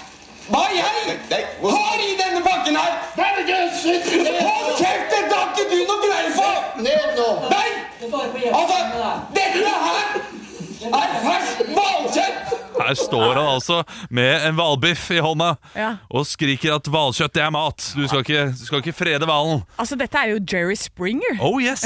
Speaker 9: hva jeg har i denne pakken her? Hold kjeften! Det har ikke du noe greie på! Ned nå! Nei! Altså, dette her er ferskt hvalkjøtt!
Speaker 3: Det der står han altså med en hvalbiff i hånda
Speaker 2: Ja.
Speaker 3: og skriker at hvalkjøtt det er mat. Du skal ikke, du skal ikke frede hvalen.
Speaker 2: Altså, dette er jo Jerry Springer. (laughs)
Speaker 3: Oh yes!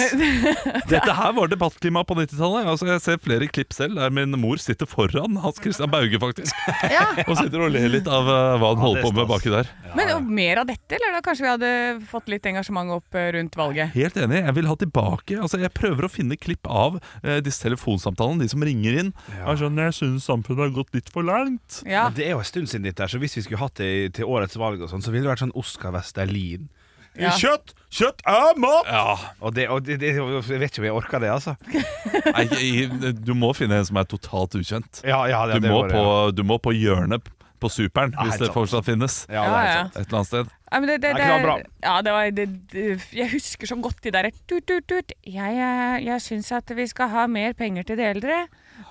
Speaker 3: Dette her var debattklima på 90-tallet. Altså, jeg ser flere klipp selv der min mor sitter foran Hans Christian Bauge, faktisk.
Speaker 2: Ja.
Speaker 3: Og sitter og ler litt av eh, hva han holder på med baki der.
Speaker 2: Men og mer av dette, eller da kanskje vi hadde fått litt engasjement opp eh, rundt valget?
Speaker 3: Helt enig. Jeg vil ha tilbake Altså, jeg prøver å finne klipp av eh, disse telefonsamtalene, de som ringer inn. Er sånn, jeg syns samfunnet har gått litt for langt.
Speaker 2: Ja.
Speaker 4: Det er jo en stund siden ditt der, så hvis vi skulle hatt det i- til årets valg, og sånn, så ville det vært sånn Oscar Westerlin.
Speaker 2: Ja.
Speaker 4: Kjøtt! Kjøtt er mat!
Speaker 3: Ja,
Speaker 4: Og, det, og det, det, jeg vet ikke om jeg orker det, altså.
Speaker 3: Nei, i- du må finne en som er totalt ukjent.
Speaker 4: Ja, ja, det,
Speaker 3: Du
Speaker 4: det
Speaker 3: må
Speaker 4: var det,
Speaker 3: på,
Speaker 4: ja.
Speaker 3: du må på hjørnet på superen, hvis
Speaker 4: helt
Speaker 3: det
Speaker 4: sant.
Speaker 3: fortsatt finnes. Et
Speaker 4: Ja,
Speaker 2: Ja,
Speaker 4: det er
Speaker 2: ja.
Speaker 4: sant.
Speaker 3: eller annet sted.
Speaker 2: Ja, men det, det,
Speaker 4: Det er ikke noe bra.
Speaker 2: ja, det var, det, det, jeg husker så godt de der tut, tut, tut. Jeg, eh, jeg syns at vi skal ha mer penger til de eldre.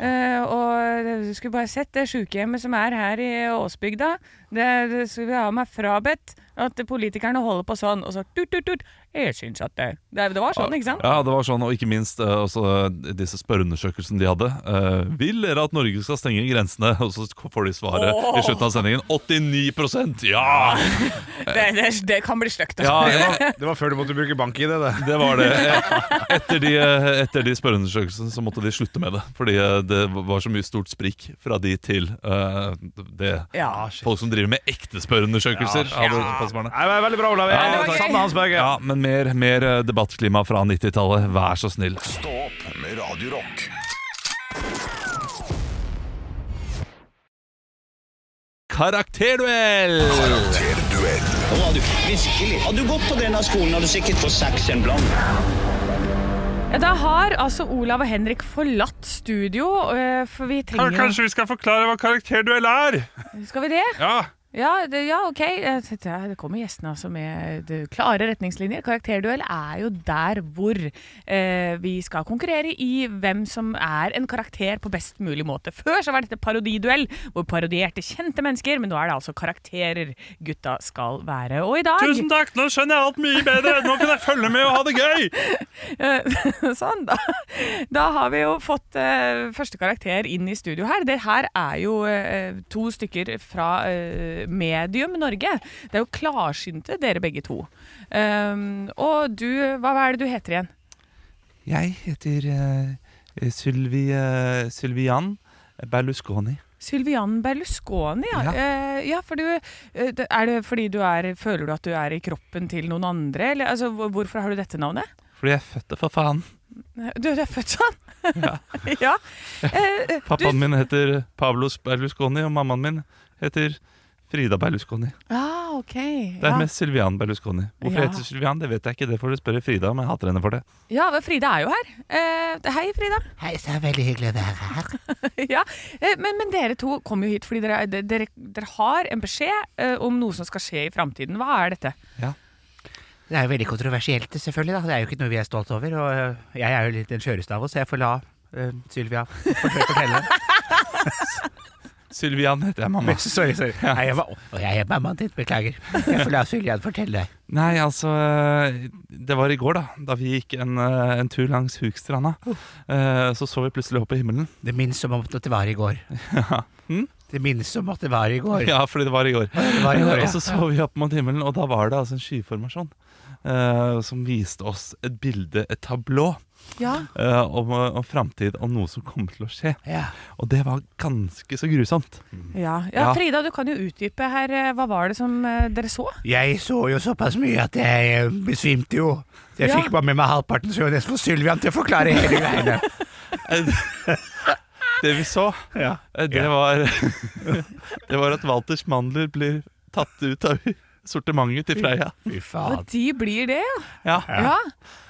Speaker 2: eh, og du skulle bare sett det sykehjemmet som er her i Åsbygda. Det, det skulle vi ha meg frabedt. At politikerne holder på sånn. Og så tut, tut, tut. Jeg syns at det Det, det var sånn, ikke sant?
Speaker 3: Ja, det var sånn, og ikke minst eh, også disse spørreundersøkelsene de hadde. Eh, vil dere at Norge skal stenge grensene? Og så får de svaret i slutten av sendingen. 89 ja!
Speaker 2: Det, det, det kan bli stygt.
Speaker 3: ja
Speaker 2: altså.
Speaker 3: ja.
Speaker 4: Det var før du måtte bruke bank i det, det.
Speaker 3: Det var det. Eh, Etter de, eh, etter de spørreundersøkelsene så måtte de slutte med det. Fordi eh, det var så mye stort sprik fra de til eh, det.
Speaker 2: Ja.
Speaker 3: Folk som driver med ekte spørreundersøkelser. av Europassbarnet.
Speaker 4: Nei, men Veldig bra, Olav. Jeg
Speaker 2: det var gøy.
Speaker 4: savner Hans Børge.
Speaker 3: Ja, men mer, mer eh, debattklima fra 90-tallet, vær så snill.
Speaker 1: Stå opp med Radio Rock.
Speaker 3: Karakterduell!
Speaker 1: Karakterduell.
Speaker 6: Hadde du virkelig Hadde du gått på denne skolen, hadde du sikkert fått seks en blank.
Speaker 2: Ja, Da har altså Olav og Henrik forlatt studio, eh, for vi trenger
Speaker 3: vi skal forklare hva karakterduell er?
Speaker 2: Skal vi det?
Speaker 3: Ja.
Speaker 2: Ja, det, ja ok. Eh, Det det kommer gjestene altså med det, klare retningslinjer. Karakterduell er jo der hvor eh, vi skal konkurrere i hvem som er en karakter på best mulig måte. Før så var dette parodiduell, hvor parodierte kjente mennesker, men nå er det altså karakterer gutta skal være. Og i dag
Speaker 3: takk, nå skjønner jeg alt mye bedre! Nå kan jeg følge med og ha det gøy!
Speaker 2: Eh, (laughs) sånn, da. Da har vi jo fått eh, første karakter inn i studio her. Det her er jo eh, to stykker fra eh, Medium Norge. Det er jo klarsynte, dere begge to. Ehm, og du, hva er det du heter igjen?
Speaker 3: Jeg heter uh, Sylvi eh, Sylvian Berlusconi.
Speaker 2: Sylvian Berlusconi, ja.
Speaker 3: Ja.
Speaker 2: Eh, ja for du, eh, det- er det fordi du er, føler du at du er i kroppen til noen andre? Eller, altså, hvor- hvorfor har du dette navnet?
Speaker 3: Fordi jeg er født det, for faen.
Speaker 2: Du, du er født sånn? (laughs) Ja. Eh, eh, du-
Speaker 3: Pappaen min heter Pablos Berlusconi, og mammaen min heter Frida Berlusconi.
Speaker 2: Ah, ok.
Speaker 3: Det er
Speaker 2: ja.
Speaker 3: mest Sylvian Berlusconi. Hvorfor
Speaker 2: Ja.
Speaker 3: jeg heter Sylvian, det vet jeg ikke. Det får du spørre Frida om. Jeg hater henne for det.
Speaker 2: Ja, men Frida er jo her. Eh, hei, Frida. Hei, så veldig hyggelig å være her. (laughs) ja, eh, men, men dere to kom jo hit fordi dere, er- de- dere, dere har en beskjed eh, om noe som skal skje i framtiden. Hva er dette?
Speaker 10: Det er jo veldig kontroversielt, selvfølgelig. da. Det er jo ikke noe vi er stolt over. Og øh, jeg er jo litt den skjøreste av oss, så jeg får la øh, Sylvia fortelle- fortelle.
Speaker 3: Sylvian heter jeg, mamma.
Speaker 10: (laughs) sorry, sorry. Nei, jeg var, og jeg er mammaen din, beklager. Jeg får la Sylvia fortelle deg.
Speaker 3: Nei, altså eh, Det var i går, da. Da vi gikk en, eh, en tur langs Hukstranda. Eh, Så så vi plutselig opp i himmelen.
Speaker 10: Det minnes som om at det var i går.
Speaker 3: Hm?
Speaker 10: Det minnes som at det var i går.
Speaker 3: (laughs) Ja, fordi det var i går.
Speaker 10: Det var i går,
Speaker 3: Og
Speaker 10: ja.
Speaker 3: så så vi opp mot himmelen, og da var det altså en skyformasjon. eh, som viste oss et bilde, et tablå,
Speaker 2: Ja,
Speaker 3: eh, om, eh, om framtid og noe som kommer til å skje.
Speaker 10: Ja.
Speaker 3: Og det var ganske så grusomt.
Speaker 2: ja.
Speaker 3: Ja.
Speaker 2: Frida, du kan jo utdype her. eh, Hva var det som eh, dere så?
Speaker 10: Jeg så jo såpass mye at jeg øh, besvimte jo. Jeg
Speaker 2: Ja.
Speaker 10: fikk bare med meg halvparten, så jeg var nesten for Sylvian til å forklare hele greiene.
Speaker 3: Eh, (laughs) Det vi så,
Speaker 10: Ja.
Speaker 3: eh, det var (laughs) Det var at Walters mandler blir tatt ut av sortimentet til Freia.
Speaker 10: Fy
Speaker 2: Og
Speaker 10: faen.
Speaker 2: de blir det, ja.
Speaker 3: Ja,
Speaker 2: ja.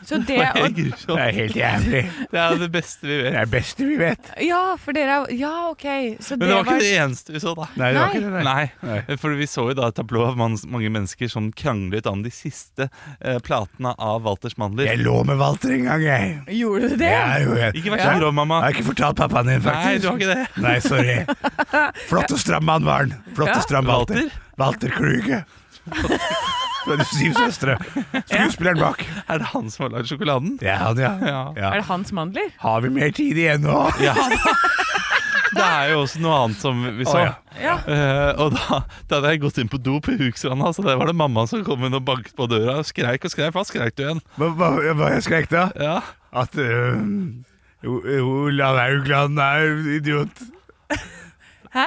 Speaker 2: Så
Speaker 3: (laughs) det
Speaker 2: det,
Speaker 3: er
Speaker 2: og,
Speaker 10: Det
Speaker 3: grusomt.
Speaker 10: er helt jævlig.
Speaker 3: Det er det beste vi
Speaker 10: Det
Speaker 3: vet.
Speaker 10: er det beste vi vet.
Speaker 2: ja, for dere er Ja, OK. Så
Speaker 3: Men det var ikke det eneste vi så, da.
Speaker 10: Nei, det var
Speaker 2: Nei.
Speaker 10: ikke det.
Speaker 3: Nei, for vi så jo da et tablå av mans- mange mennesker som kranglet om de siste eh, platene av Walters
Speaker 10: Jeg
Speaker 3: mandler.
Speaker 10: lå med Walter en gang, jeg.
Speaker 2: Gjorde du det?
Speaker 10: Ja, jo, jeg.
Speaker 3: Ikke vær så grov, mamma.
Speaker 10: Jeg har ikke fortalt pappaen din, faktisk.
Speaker 3: Nei, du har ikke det.
Speaker 10: Nei, sorry. Flott og stram mann var han. Flott
Speaker 2: Ja.
Speaker 10: og stram Walter. Walter Kluge.
Speaker 3: (laughs)
Speaker 10: Fra De syv søstre. Skuespilleren bak.
Speaker 3: Er det han som har lagd sjokoladen?
Speaker 10: Det er han, ja.
Speaker 3: Ja.
Speaker 10: ja.
Speaker 2: Er det hans mandler?
Speaker 10: Har vi mer tid igjen nå?
Speaker 3: Ja. det er jo også noe annet som vi så.
Speaker 7: ja.
Speaker 2: Ja.
Speaker 3: Eh, og da, da hadde jeg gått inn på do på Hukstranda, så der var det mamma som kom inn og banket på døra. og Skreik og skreik. Hva skreik du igjen?
Speaker 5: Hva, hva, hva jeg skrek da?
Speaker 3: Ja.
Speaker 5: At eh, øhm, O- Olav Haugland er idiot.
Speaker 2: Hæ?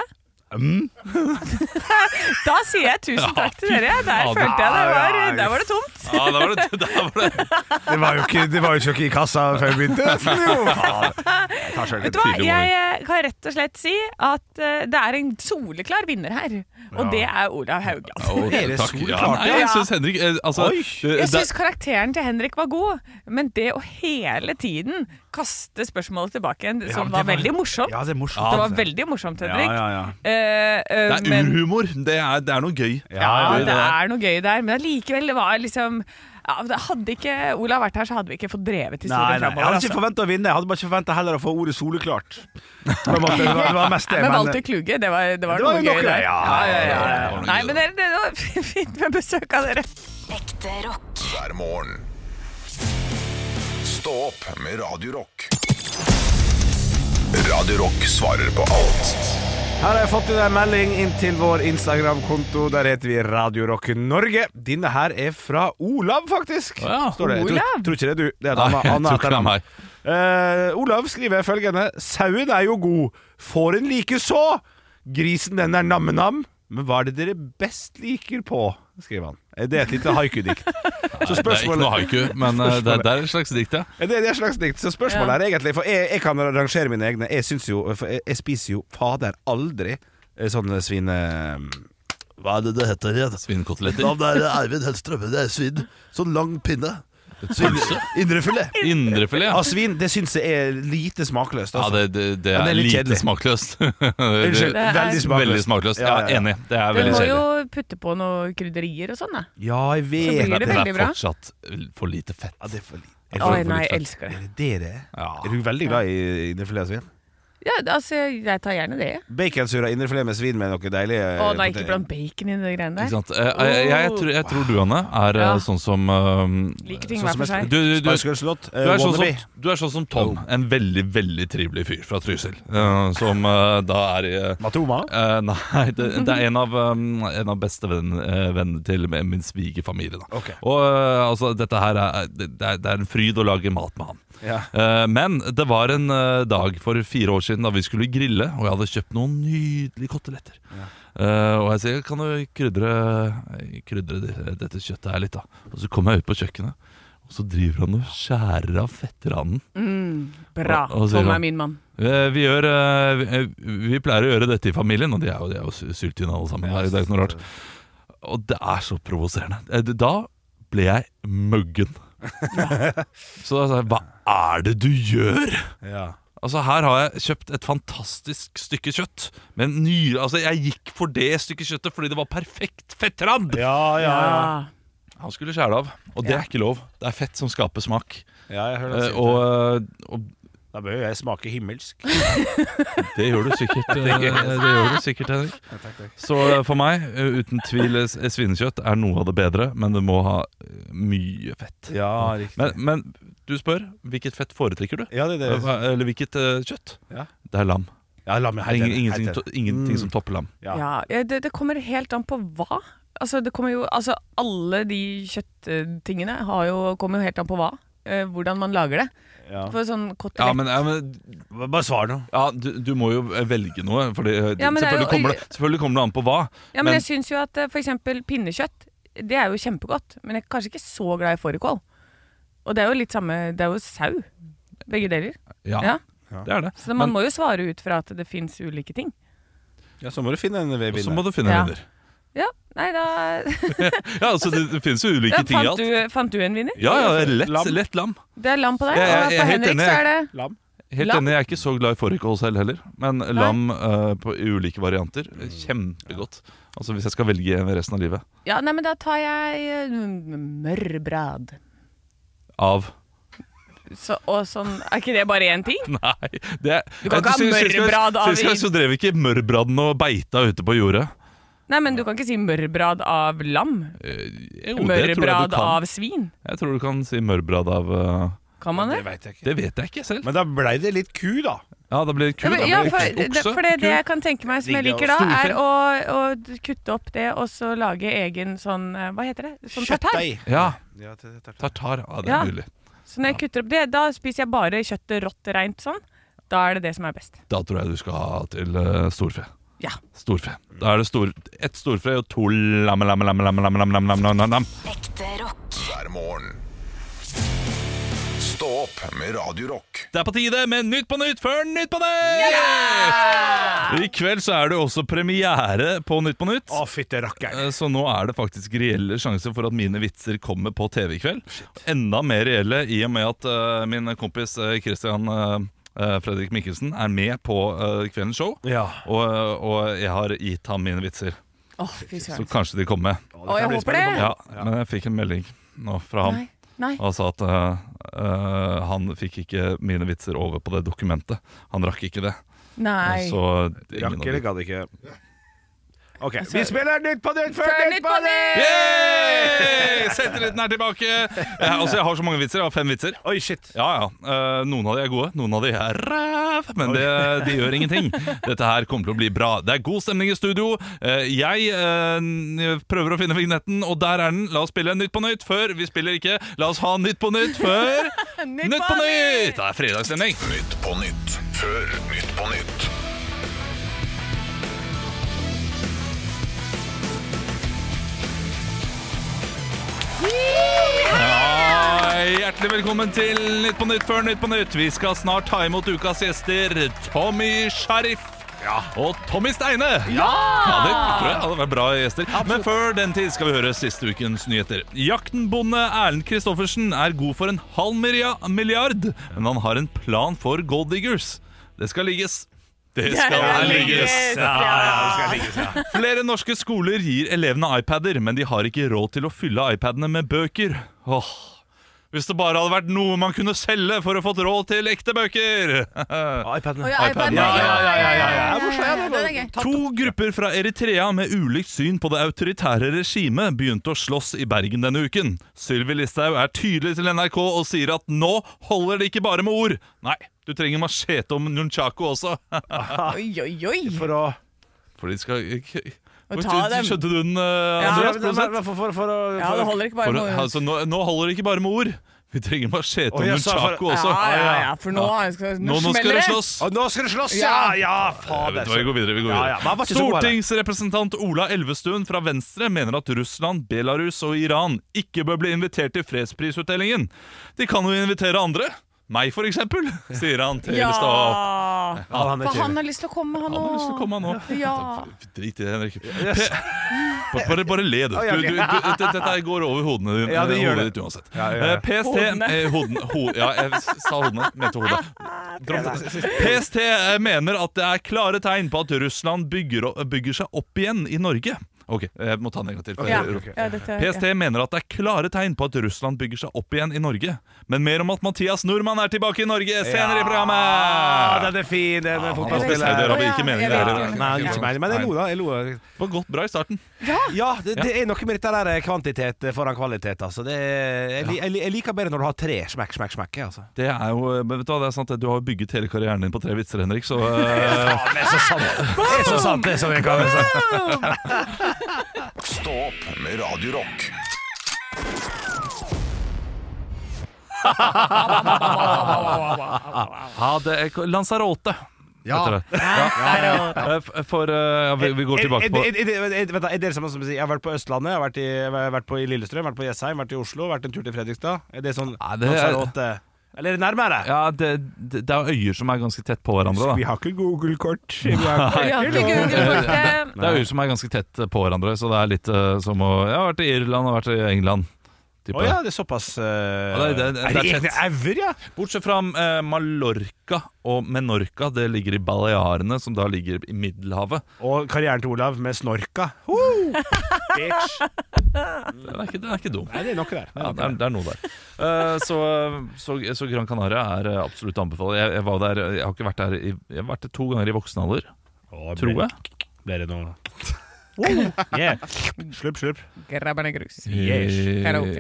Speaker 2: da sier jeg tusen takk til dere. Der
Speaker 3: (laughs) Ja, fy
Speaker 2: følte jeg det var,
Speaker 5: faen.
Speaker 2: der var det tomt.
Speaker 3: ja da var det, da var det.
Speaker 5: Det var jo ikke, det var jo ikke i kassa før vi begynte. nesten, jo. Faen.
Speaker 2: Vet du hva,
Speaker 3: tidlig
Speaker 2: Jeg eh, kan rett og slett si at eh, det er en soleklar vinner her, og det er Olav Haugland.
Speaker 3: Å,
Speaker 4: Dere
Speaker 3: takk.
Speaker 4: sol,
Speaker 3: Ja,
Speaker 4: klarte
Speaker 3: nei, jeg syns Henrik eh, altså,
Speaker 4: Oi.
Speaker 3: det-
Speaker 2: Jeg
Speaker 3: det-
Speaker 2: syns karakteren til Henrik var god, men det å hele tiden kaste spørsmålet tilbake igjen, som var, veldig morsomt
Speaker 4: Ja, altså, det er morsomt.
Speaker 2: Det var veldig morsomt, Henrik.
Speaker 4: Ja, ja,
Speaker 2: Eh, eh,
Speaker 3: det er
Speaker 2: men-
Speaker 3: urhumor. Det er, det er noe gøy.
Speaker 2: Ja, det er noe gøy der, men allikevel, det var liksom ja, det Hadde ikke Olav vært her, så hadde vi ikke fått drevet
Speaker 4: Nei,
Speaker 2: historien altså.
Speaker 4: nei, jeg hadde
Speaker 2: framover.
Speaker 4: ikke forventa å vinne. Jeg hadde bare ikke forventa heller å få ordet soleklart. På en måte, Det (laughs) var, det var mest det,
Speaker 2: Men
Speaker 4: men-
Speaker 2: Walter Kluge, det var, det var,
Speaker 4: Det var jo
Speaker 2: noe gøy
Speaker 4: noe,
Speaker 2: der.
Speaker 4: ja,
Speaker 2: ja, ja,
Speaker 3: det var noe
Speaker 2: Nei,
Speaker 3: gøy
Speaker 2: men det, det var (laughs) fint med besøk av dere.
Speaker 8: Ekte rock.
Speaker 1: hver morgen. Stå opp med Radio Rock. Radio Rock svarer på alt.
Speaker 4: Her har jeg fått inn en melding inn til vår Instagram-konto. Der heter vi Radio Rock Norge. Denne her er fra Olav, faktisk.
Speaker 3: Å ja,
Speaker 4: Står det. Jeg
Speaker 2: Olav?
Speaker 4: tror, tror ikke det er du. Det er
Speaker 3: Nei,
Speaker 4: dama.
Speaker 3: jeg
Speaker 4: Anna
Speaker 3: tror ikke det er
Speaker 4: etternavn.
Speaker 3: meg.
Speaker 4: Eh, Olav skriver følgende. Sauen er jo god. Får en like så. Grisen den er namme-nam. Men hva er det dere best liker på? skriver han. Eh, Det er et lite
Speaker 3: (laughs)
Speaker 4: haiku-dikt. Så
Speaker 3: Det er ikke noe haiku, men eh, det, det er et slags dikt, ja.
Speaker 4: Ja, Det, det er slags dikt. Så spørsmålet er egentlig For jeg, jeg kan rangere mine egne. Jeg syns jo for jeg, jeg spiser jo fader aldri eh, sånne svine... eh,
Speaker 11: Hva er det det heter igjen?
Speaker 3: Svinekoteletter.
Speaker 11: Navnet er Eivind Hellstrøm. Det er svin. Sånn lang pinne. Svin, indrefilet.
Speaker 3: Indrefilet.
Speaker 4: Av
Speaker 3: ja.
Speaker 4: svin, det syns jeg er lite smakløst.
Speaker 3: Ja,
Speaker 4: Altså.
Speaker 3: det, det, det
Speaker 4: Ja,
Speaker 3: er
Speaker 4: det er litt
Speaker 3: lite
Speaker 4: kjedelig.
Speaker 3: smakløst. (laughs) Det-
Speaker 4: Unnskyld.
Speaker 2: er-
Speaker 4: Veldig smakløst.
Speaker 3: Veldig smakløst.
Speaker 4: Ja,
Speaker 3: Ja,
Speaker 4: ja, ja.
Speaker 3: enig. Det er
Speaker 2: Du
Speaker 3: veldig
Speaker 2: må jo
Speaker 3: kjedelig.
Speaker 2: putte på noe krydderier og sånn, da.
Speaker 4: Ja, jeg
Speaker 2: Så
Speaker 4: vet
Speaker 2: blir
Speaker 3: Men
Speaker 2: det
Speaker 3: det er
Speaker 2: veldig bra.
Speaker 3: fortsatt for lite fett.
Speaker 4: ja, det er for lite.
Speaker 2: Oi, nei, jeg elsker det.
Speaker 4: Dere er du veldig glad i indrefilet av svin?
Speaker 2: Ja, altså, jeg tar gjerne det.
Speaker 3: Eh,
Speaker 4: Baconsurra indrefilet med svin med noe deilig eh,
Speaker 2: Å nei,
Speaker 4: potet-
Speaker 2: ikke blant bacon i de greiene
Speaker 3: Ikke
Speaker 2: der.
Speaker 3: sant? Eh, Jeg, jeg, jeg, tror, jeg tror du, Anne, er eh,
Speaker 2: Ja.
Speaker 3: sånn som eh,
Speaker 2: Liker ting
Speaker 4: Sånn
Speaker 2: hver
Speaker 4: som
Speaker 2: for
Speaker 4: jeg-
Speaker 2: seg.
Speaker 3: du, du, du,
Speaker 4: Spice Girls låt.
Speaker 3: Du er, sånn
Speaker 4: Eh, Wannabe. Oh.
Speaker 3: som, du er sånn som Tom, en veldig veldig trivelig fyr fra Trysil. eh, som eh, da er i eh,
Speaker 4: Matoma?
Speaker 3: eh, Nei, det, det er en av, um, en av bestevennene vennene til min min svigerfamilie. da.
Speaker 4: Ok.
Speaker 3: Og eh, altså, dette her er, det, det er, det er en fryd å lage mat med han.
Speaker 4: Ja.
Speaker 3: Eh, men det var en eh, dag for fire år siden da vi skulle grille, og jeg hadde kjøpt noen nydelige koteletter. Eh, og jeg sier kan du krydre, krydre det- dette kjøttet her litt, da. Og så kommer jeg ut på kjøkkenet, og så driver han og skjærer av fetteranden.
Speaker 2: Bra.
Speaker 3: Og- og sier
Speaker 2: Tom
Speaker 3: han-
Speaker 2: er min mann.
Speaker 3: Eh, Vi, gjør, eh, vi, eh, vi pleier å gjøre dette i familien, og de er jo, de er jo sy- syltynne alle sammen. det er- det er ikke noe rart. Og det er så provoserende. Eh, det- Da ble jeg
Speaker 4: (laughs)
Speaker 3: muggen. Så da sa jeg hva er det du gjør?
Speaker 4: Ja.
Speaker 3: Altså Her har jeg kjøpt et fantastisk stykke kjøtt. Men ny, altså Jeg gikk for det stykket kjøttet fordi det var perfekt fettrand!
Speaker 4: Ja, ja, ja.
Speaker 3: Han skulle skjære av, og det er ikke lov. Det er fett som skaper smak.
Speaker 4: ja jeg hører
Speaker 3: Eh,
Speaker 4: det.
Speaker 3: Og, eh, og
Speaker 4: Da bør jo jeg smake himmelsk.
Speaker 3: Det gjør du sikkert, eh, det gjør du sikkert Henrik. Så eh, for meg, eh, uten tvil, eh, s- eh, svinekjøtt er noe av det bedre, men det må ha eh, mye fett.
Speaker 4: Ja, riktig.
Speaker 3: Men, men du spør, hvilket fett foretrekker du?
Speaker 4: ja, det er det.
Speaker 3: Hva- Eller hvilket eh, kjøtt?
Speaker 4: Ja.
Speaker 3: Det er lam.
Speaker 4: Ja, la meg
Speaker 3: Det er Mm. ingen, ingenting,
Speaker 4: helt enig.
Speaker 3: to- ingenting som topper lam.
Speaker 4: Ja.
Speaker 2: Ja, ja, det, det kommer helt an på hva. Altså, det kommer jo, altså, alle de kjøtttingene har jo, kommer jo helt an på hva. eh, hvordan man lager det.
Speaker 4: Ja.
Speaker 2: For sånn kotelett
Speaker 3: Ja, men, ja, men
Speaker 4: Bare svar nå.
Speaker 3: ja, du, du må jo eh, velge noe. Fordi, eh,
Speaker 2: Ja, men det er
Speaker 3: selvfølgelig,
Speaker 2: jo-
Speaker 3: kommer det, selvfølgelig kommer det an på hva.
Speaker 2: Ja, men
Speaker 3: Men-
Speaker 2: jeg syns jo at eh, for eksempel pinnekjøtt, det er jo kjempegodt. Men jeg er kanskje ikke så glad i fårikål. Og det er jo litt samme Det er jo sau, begge deler.
Speaker 3: Ja,
Speaker 2: Ja.
Speaker 3: det er det.
Speaker 2: Så man
Speaker 3: Men-
Speaker 2: må jo svare ut fra at det fins ulike ting.
Speaker 4: Ja, så må du finne en
Speaker 3: og så må
Speaker 4: vedvinner.
Speaker 3: du finne
Speaker 2: Ja.
Speaker 3: en vinner.
Speaker 2: Ja, nei da
Speaker 3: Ja, altså, det, det finnes jo ulike
Speaker 2: ja,
Speaker 3: ting i
Speaker 2: (laughs) fant,
Speaker 3: alt.
Speaker 2: du, fant du en vinner?
Speaker 3: Ja, ja, lett
Speaker 4: Lam.
Speaker 3: lam. Lett lam.
Speaker 2: Det er lam på deg.
Speaker 3: Jeg- jeg-
Speaker 2: og
Speaker 3: jeg er
Speaker 2: på
Speaker 3: helt
Speaker 2: Henrik
Speaker 3: enig.
Speaker 2: så er det
Speaker 4: Lam.
Speaker 3: Helt
Speaker 2: Lam.
Speaker 3: enig, jeg er ikke så glad i fårikål selv heller. Men lam eh, på i ulike varianter, kjempegodt. Altså Hvis jeg skal velge resten av livet.
Speaker 2: Ja, nei, men da tar jeg eh, mørbrad.
Speaker 3: Av
Speaker 2: Så, og sånn, er ikke det bare én ting?
Speaker 3: (laughs) Nei! Det er,
Speaker 2: Du kan ikke ha mørbrad av
Speaker 3: Sist gang
Speaker 2: i-
Speaker 3: så drev ikke mørbraden og beita ute på jordet.
Speaker 2: Nei, men du kan ikke si mørbrad av lam.
Speaker 3: Eh, Jo, det tror jeg
Speaker 2: Mørbrad
Speaker 3: du kan.
Speaker 2: av svin.
Speaker 3: Jeg tror du kan si mørbrad av eh,
Speaker 2: Kan man det?
Speaker 4: Det veit jeg ikke.
Speaker 3: Det vet jeg ikke selv.
Speaker 4: Men da blei det litt ku, da.
Speaker 3: Ja, det blir ku.
Speaker 2: Ja,
Speaker 3: da
Speaker 2: men-
Speaker 3: blir
Speaker 2: ja,
Speaker 3: det
Speaker 2: for,
Speaker 3: okse,
Speaker 2: det, for det,
Speaker 3: ku.
Speaker 2: det jeg kan tenke meg som jeg
Speaker 3: Digg,
Speaker 2: liker
Speaker 3: ja.
Speaker 2: da,
Speaker 3: Storfe.
Speaker 2: er å, å kutte opp det og så lage egen sånn eh, Hva heter det? Sånn tartar.
Speaker 3: Ja.
Speaker 4: Ja, det- det-
Speaker 3: Tartar. Ja, det
Speaker 2: Ja.
Speaker 3: er nydelig.
Speaker 2: Så når jeg kutter opp det, da spiser jeg bare kjøttet rått reint sånn. Da er det det som er best.
Speaker 3: Da tror jeg du skal ha til eh, storfe.
Speaker 2: Ja.
Speaker 3: Storfe. Da er det stor, ett storfe og to lamme, lamme, lamme, lamme, lamme, lamme, lamme, lamme, lamme, lamme.
Speaker 8: Ekte rock.
Speaker 1: hver morgen. Stå opp med Radio Rock.
Speaker 3: Det er på tide med Nytt på nytt før Nytt på nytt! I kveld så er det også premiere på Nytt på nytt.
Speaker 4: Å, fytte rakkeren.
Speaker 3: Eh, Så nå er det faktisk reelle sjanser for at mine vitser kommer på TV i kveld. Enda mer reelle i og med at eh, min kompis eh, Christian eh, eh, Fredrik Mikkelsen er med på eh, kveldens show.
Speaker 4: Ja.
Speaker 3: Og, eh, og jeg har gitt ham mine vitser.
Speaker 2: Åh, fy
Speaker 3: Så
Speaker 2: søren.
Speaker 3: kanskje de kommer med.
Speaker 2: Å, jeg håper det.
Speaker 3: Ja, men jeg fikk en melding nå fra ham.
Speaker 2: Nei. Nei.
Speaker 3: Og sa at eh, eh, han fikk ikke mine vitser over på det dokumentet. Han rakk ikke det.
Speaker 2: Nei.
Speaker 3: Så ingen av
Speaker 4: Rakk eller
Speaker 3: de
Speaker 4: gadd ikke. OK. Vi spiller Nytt på Nytt før
Speaker 2: Før
Speaker 4: Nytt på Nytt!
Speaker 3: Yay! Selvtilliten er tilbake! Jeg, altså, jeg har så mange vitser. Jeg har fem vitser.
Speaker 4: Oi, shit.
Speaker 3: Ja, ja. Eh, noen av de er gode, noen av de er ræv, men det, de gjør ingenting. Dette her kommer til å bli bra. Det er god stemning i studio. Eh, jeg eh, n- prøver å finne vignetten, og der er den. La oss spille Nytt på nytt før Vi spiller ikke. La oss ha Nytt på nytt før Nytt,
Speaker 2: på
Speaker 3: på nytt! Det er fredagsstemning.
Speaker 1: Nytt på nytt før Nytt på nytt.
Speaker 3: Hei, Hjertelig velkommen til Nytt på Nytt før Nytt på Nytt. Vi skal snart ta imot ukas gjester Tommy Sharif. Og Tommy Steine! Ja! det tror jeg hadde vært bra gjester. Men før den tid skal vi høre siste ukens nyheter. Jaktenbonde Erlend Kristoffersen er god for en halv miria- milliard, men han har en plan for gold diggers. Det skal ligges. Det skal ligges. Flere norske skoler gir elevene iPader, men de har ikke råd til å fylle iPadene med bøker. Åh, hvis det bare hadde vært noe man kunne selge for å fått råd til ekte bøker!
Speaker 2: Å,
Speaker 4: iPaden.
Speaker 2: ja,
Speaker 3: iPaden.
Speaker 2: iPaden.
Speaker 3: Ja, ja, ja,
Speaker 4: ja, ja, ja.
Speaker 2: ja, ja. Den er gøy.
Speaker 3: To grupper fra Eritrea med ulikt syn på det autoritære regimet begynte å slåss i Bergen denne uken. Sylvi Listhaug er tydelig til NRK og sier at nå holder det ikke bare med ord. Nei, du trenger machete om nunchaku også.
Speaker 2: Oi, oi, oi.
Speaker 4: For å
Speaker 3: For de skal
Speaker 2: Og ta dem.
Speaker 3: Skjønte du den, eh,
Speaker 4: Ja,
Speaker 3: Andreas?
Speaker 4: men-
Speaker 3: Prosent?
Speaker 4: men- for- for- for å-
Speaker 2: Ja,
Speaker 4: for å-
Speaker 2: det holder ikke bare
Speaker 3: For,
Speaker 2: med ord.
Speaker 3: altså, nå, nå holder det ikke bare med ord. Vi trenger machete og
Speaker 4: Å, jeg sa for-
Speaker 3: nunchaku også.
Speaker 2: Ja, ja, ja, for nå, skal,
Speaker 3: Nå, nå skal
Speaker 2: smeller
Speaker 3: dere slåss!
Speaker 4: Å, Nå skal det slåss, ja! Ja,
Speaker 3: Jeg vet
Speaker 4: fader.
Speaker 3: hva, vi går videre. Vi går
Speaker 4: Ja, ja, men han
Speaker 3: videre.
Speaker 4: var ikke så god, han.
Speaker 3: Stortingsrepresentant Ola Elvestuen fra Venstre mener at Russland, Belarus og Iran ikke bør bli invitert til fredsprisutdelingen. De kan jo invitere andre. Meg, for eksempel, sier han til
Speaker 2: Ja.
Speaker 3: Stå opp.
Speaker 4: Ja, han er
Speaker 2: For
Speaker 4: kjip.
Speaker 2: han har lyst til å komme,
Speaker 3: Han
Speaker 2: han
Speaker 3: har lyst til å
Speaker 2: òg.
Speaker 3: komme, han òg.
Speaker 2: Ja.
Speaker 3: Drit i det, Henrik. Bare, bare, bare le, du. du, du, du dette her går over hodene dine.
Speaker 4: Ja, det gjør
Speaker 3: hodet
Speaker 4: det.
Speaker 3: ditt uansett.
Speaker 4: Ja, ja, ja.
Speaker 3: Eh, PST
Speaker 2: Hodene.
Speaker 3: eh, hodene, ho, Ja, jeg sa hodene. Mente hodet. Dropp det. PST eh, mener at det er klare tegn på at Russland bygger, o- bygger seg opp igjen i Norge. Ok, jeg må ta den en gang til. for
Speaker 2: Ja.
Speaker 3: jeg-
Speaker 2: Ja, dette, ja.
Speaker 3: PST mener at det er klare tegn på at Russland bygger seg opp igjen i Norge. Men mer om at Mathias Nordmann er tilbake i Norge senere i
Speaker 4: Ja,
Speaker 3: programmet!
Speaker 4: den er fin, den er
Speaker 3: Han spilte
Speaker 4: fotballspiller.
Speaker 2: Saudi-Arabia.
Speaker 3: Saudi-Arabia, ikke meningen.
Speaker 2: Ja, jeg
Speaker 3: det
Speaker 2: vet
Speaker 3: er det.
Speaker 4: Nei, det er ikke meg, men jeg lo, da. Jeg lo.
Speaker 3: Det var godt bra i starten.
Speaker 4: Ja, det, det er noe med dette der kvantitet foran kvalitet. Altså. Det er, jeg, li- jeg, li- jeg liker bedre når du har tre smekk, smekk, smekk. Altså.
Speaker 3: Det er jo, men vet Du hva, det er sant det. du har jo bygget hele karrieren din på tre vitser, Henrik. Så eh,
Speaker 4: Ja, det er så sant! Det er så sant, det er som jeg kan si.
Speaker 1: Stå opp med Radio Rock.
Speaker 3: ja, det er Lanzarote.
Speaker 5: Ja.
Speaker 3: heter det. Ja. Eh, f- For eh, ja, vi, vi går tilbake på
Speaker 4: Er- er- er- er- er- vent da, Er dere samme som sier jeg har vært på Østlandet, jeg har vært i, jeg har vært på, i Lillestrøm, vært på Jessheim, vært i Oslo, vært en tur til Fredrikstad? Er det sånn
Speaker 3: Nei, det er-
Speaker 4: Lanzarote? Eller er det nærmere?
Speaker 3: Ja, det, det det er øyer som er ganske tett på hverandre.
Speaker 4: Vi
Speaker 3: da
Speaker 4: har ikke Google-kort. Vi (laughs) har
Speaker 2: Vi har ikke
Speaker 4: lov.
Speaker 2: Google-kortet.
Speaker 3: Det er øyer som er ganske tett eh, på hverandre, så det er litt eh, som å Jeg har vært i Irland og vært i England.
Speaker 4: Å
Speaker 3: type.
Speaker 4: ja, det er såpass eh,
Speaker 3: Ja, det- det- det er
Speaker 4: Er det
Speaker 3: tett.
Speaker 4: egne auer, ja?
Speaker 3: Bortsett fra eh, Mallorca og Menorca. Det ligger i Balearene, som da ligger i Middelhavet.
Speaker 4: Og karrieren til Olav med snorka. Ho! Bitch.
Speaker 3: Den er ikke, den er ikke dum.
Speaker 4: Nei, det er noe der.
Speaker 3: Ja,
Speaker 4: Det er noe
Speaker 3: det er, det er noe der. (laughs) Eh, så, så, så Gran Canaria er eh, absolutt å anbefale. Jeg, jeg, var der, jeg har ikke vært der i, Jeg har vært der to ganger i voksen alder,
Speaker 4: Å, ble-
Speaker 3: tror jeg.
Speaker 4: Ble det noe Wow. Yeah. Slupp, slupp.
Speaker 2: Grabberne grus.
Speaker 4: Yes.
Speaker 3: Eh,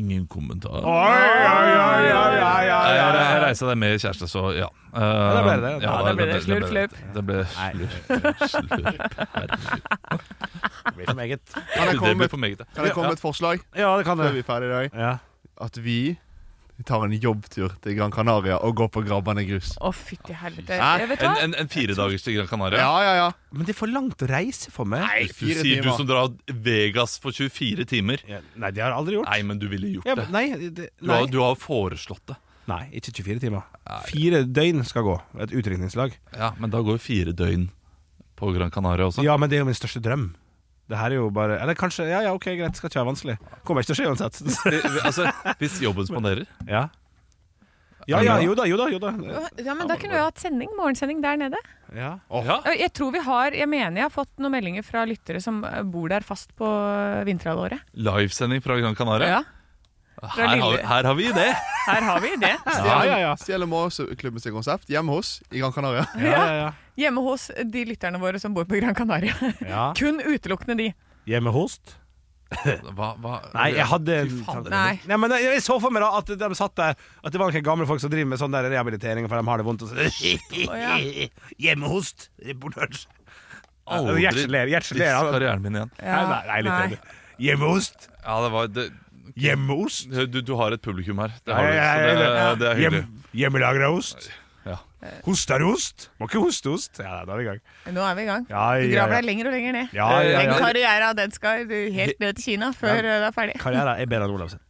Speaker 3: Ingen kommentar.
Speaker 4: Oi, oi, oi, oi, oi, oi,
Speaker 3: Jeg, jeg, jeg reiste deg med kjæreste, så ja. Eh,
Speaker 10: da ble det det.
Speaker 2: Ja, da ble det slurp,
Speaker 3: Det ble slurp, slurp.
Speaker 10: Det blir for meget.
Speaker 5: Kan jeg komme
Speaker 3: (laughs) Det
Speaker 5: med,
Speaker 3: ble for meget, det.
Speaker 5: kan jeg komme med et forslag
Speaker 10: Ja, det kan
Speaker 5: før vi
Speaker 10: det.
Speaker 5: er ferdig i dag?
Speaker 10: Ja.
Speaker 5: At vi tar en jobbtur til Gran Canaria og går på Grabbane grus.
Speaker 2: Å, fytti helvete.
Speaker 5: Hæ?
Speaker 2: Jeg vet hva?
Speaker 3: En, en, en firedagers til Gran Canaria.
Speaker 5: Ja, ja, ja.
Speaker 10: Men det er for langt å reise for meg. Nei,
Speaker 3: Du sier du som drar Vegas for 24 timer.
Speaker 10: Nei det har jeg aldri gjort.
Speaker 3: Nei, men du ville gjort
Speaker 10: Ja,
Speaker 3: det.
Speaker 10: men- nei, det,
Speaker 3: Du
Speaker 10: nei.
Speaker 3: har, du har foreslått det.
Speaker 10: nei, ikke 24 timer. Fire døgn skal gå. Et utdrikningslag.
Speaker 3: Ja, Men da går jo fire døgn på Gran Canaria også.
Speaker 10: Ja, men det er jo min største drøm. Det her er jo bare Eller kanskje Ja, ja, ok, greit, skal ikke være vanskelig. Kommer ikke til å skje
Speaker 3: (laughs)
Speaker 10: uansett.
Speaker 3: Vi- vi- Altså, Hvis jobben spanderer.
Speaker 10: Ja. Ja, ja, jo da, jo da. Jo da.
Speaker 2: Ja, men Da kunne vi hatt sending, morgensending der nede.
Speaker 10: Ja.
Speaker 3: Ja.
Speaker 2: Eh, Jeg tror vi har, jeg mener jeg har fått noen meldinger fra lyttere som eh, bor der fast på eh, vinterhalvåret.
Speaker 3: Livesending fra Gran Canaria.
Speaker 2: Ja,
Speaker 3: Her har,
Speaker 2: lille-
Speaker 3: her har vi det!
Speaker 2: her har vi det.
Speaker 5: Ja, ja, ja. Stjeler Morgenklubben sitt konsept hjemme hos i Gran Canaria.
Speaker 10: Ja, ja, ja.
Speaker 2: Hjemme hos de lytterne våre som bor på Gran Canaria.
Speaker 10: ja.
Speaker 2: (laughs) Kun utelukkende de.
Speaker 10: Hjemmehost?
Speaker 3: Hva, hva?
Speaker 10: Nei, jeg hadde
Speaker 3: Fy faen.
Speaker 2: Nei.
Speaker 10: Nei, men jeg jeg så for meg da at de satt der At det var noen gamle folk som driver med sånn der rehabilitering for de har det vondt. Og så (laughs) Hjemmehost. Reportasje.
Speaker 3: Aldri
Speaker 10: Gjertsen ler. Gjertsen ler.
Speaker 3: diss
Speaker 10: han-
Speaker 3: karrieren min igjen.
Speaker 10: Nei, nei, nei, litt enig. Hjemmeost.
Speaker 3: Ja, det var det,
Speaker 10: Hjemmeost.
Speaker 3: du, du har et publikum her. Det har
Speaker 10: Nei,
Speaker 3: du, så
Speaker 10: nei,
Speaker 3: det,
Speaker 10: nei,
Speaker 3: det er hyggelig.
Speaker 10: Hjem, hjemmelagra ost.
Speaker 3: Ja.
Speaker 10: Hoster ost. Må ikke hoste ost. Ja, da er vi i gang.
Speaker 2: Nå er vi i gang.
Speaker 10: Ja,
Speaker 2: Du
Speaker 10: ja,
Speaker 2: graver
Speaker 10: ja.
Speaker 2: deg lenger og lenger ned.
Speaker 10: Ja,
Speaker 3: Eh,
Speaker 10: ja,
Speaker 2: Den
Speaker 10: ja.
Speaker 2: karrieren den skal du helt ned til Kina før eh, det er ferdig.
Speaker 10: Karriere er bedre enn Olav sin.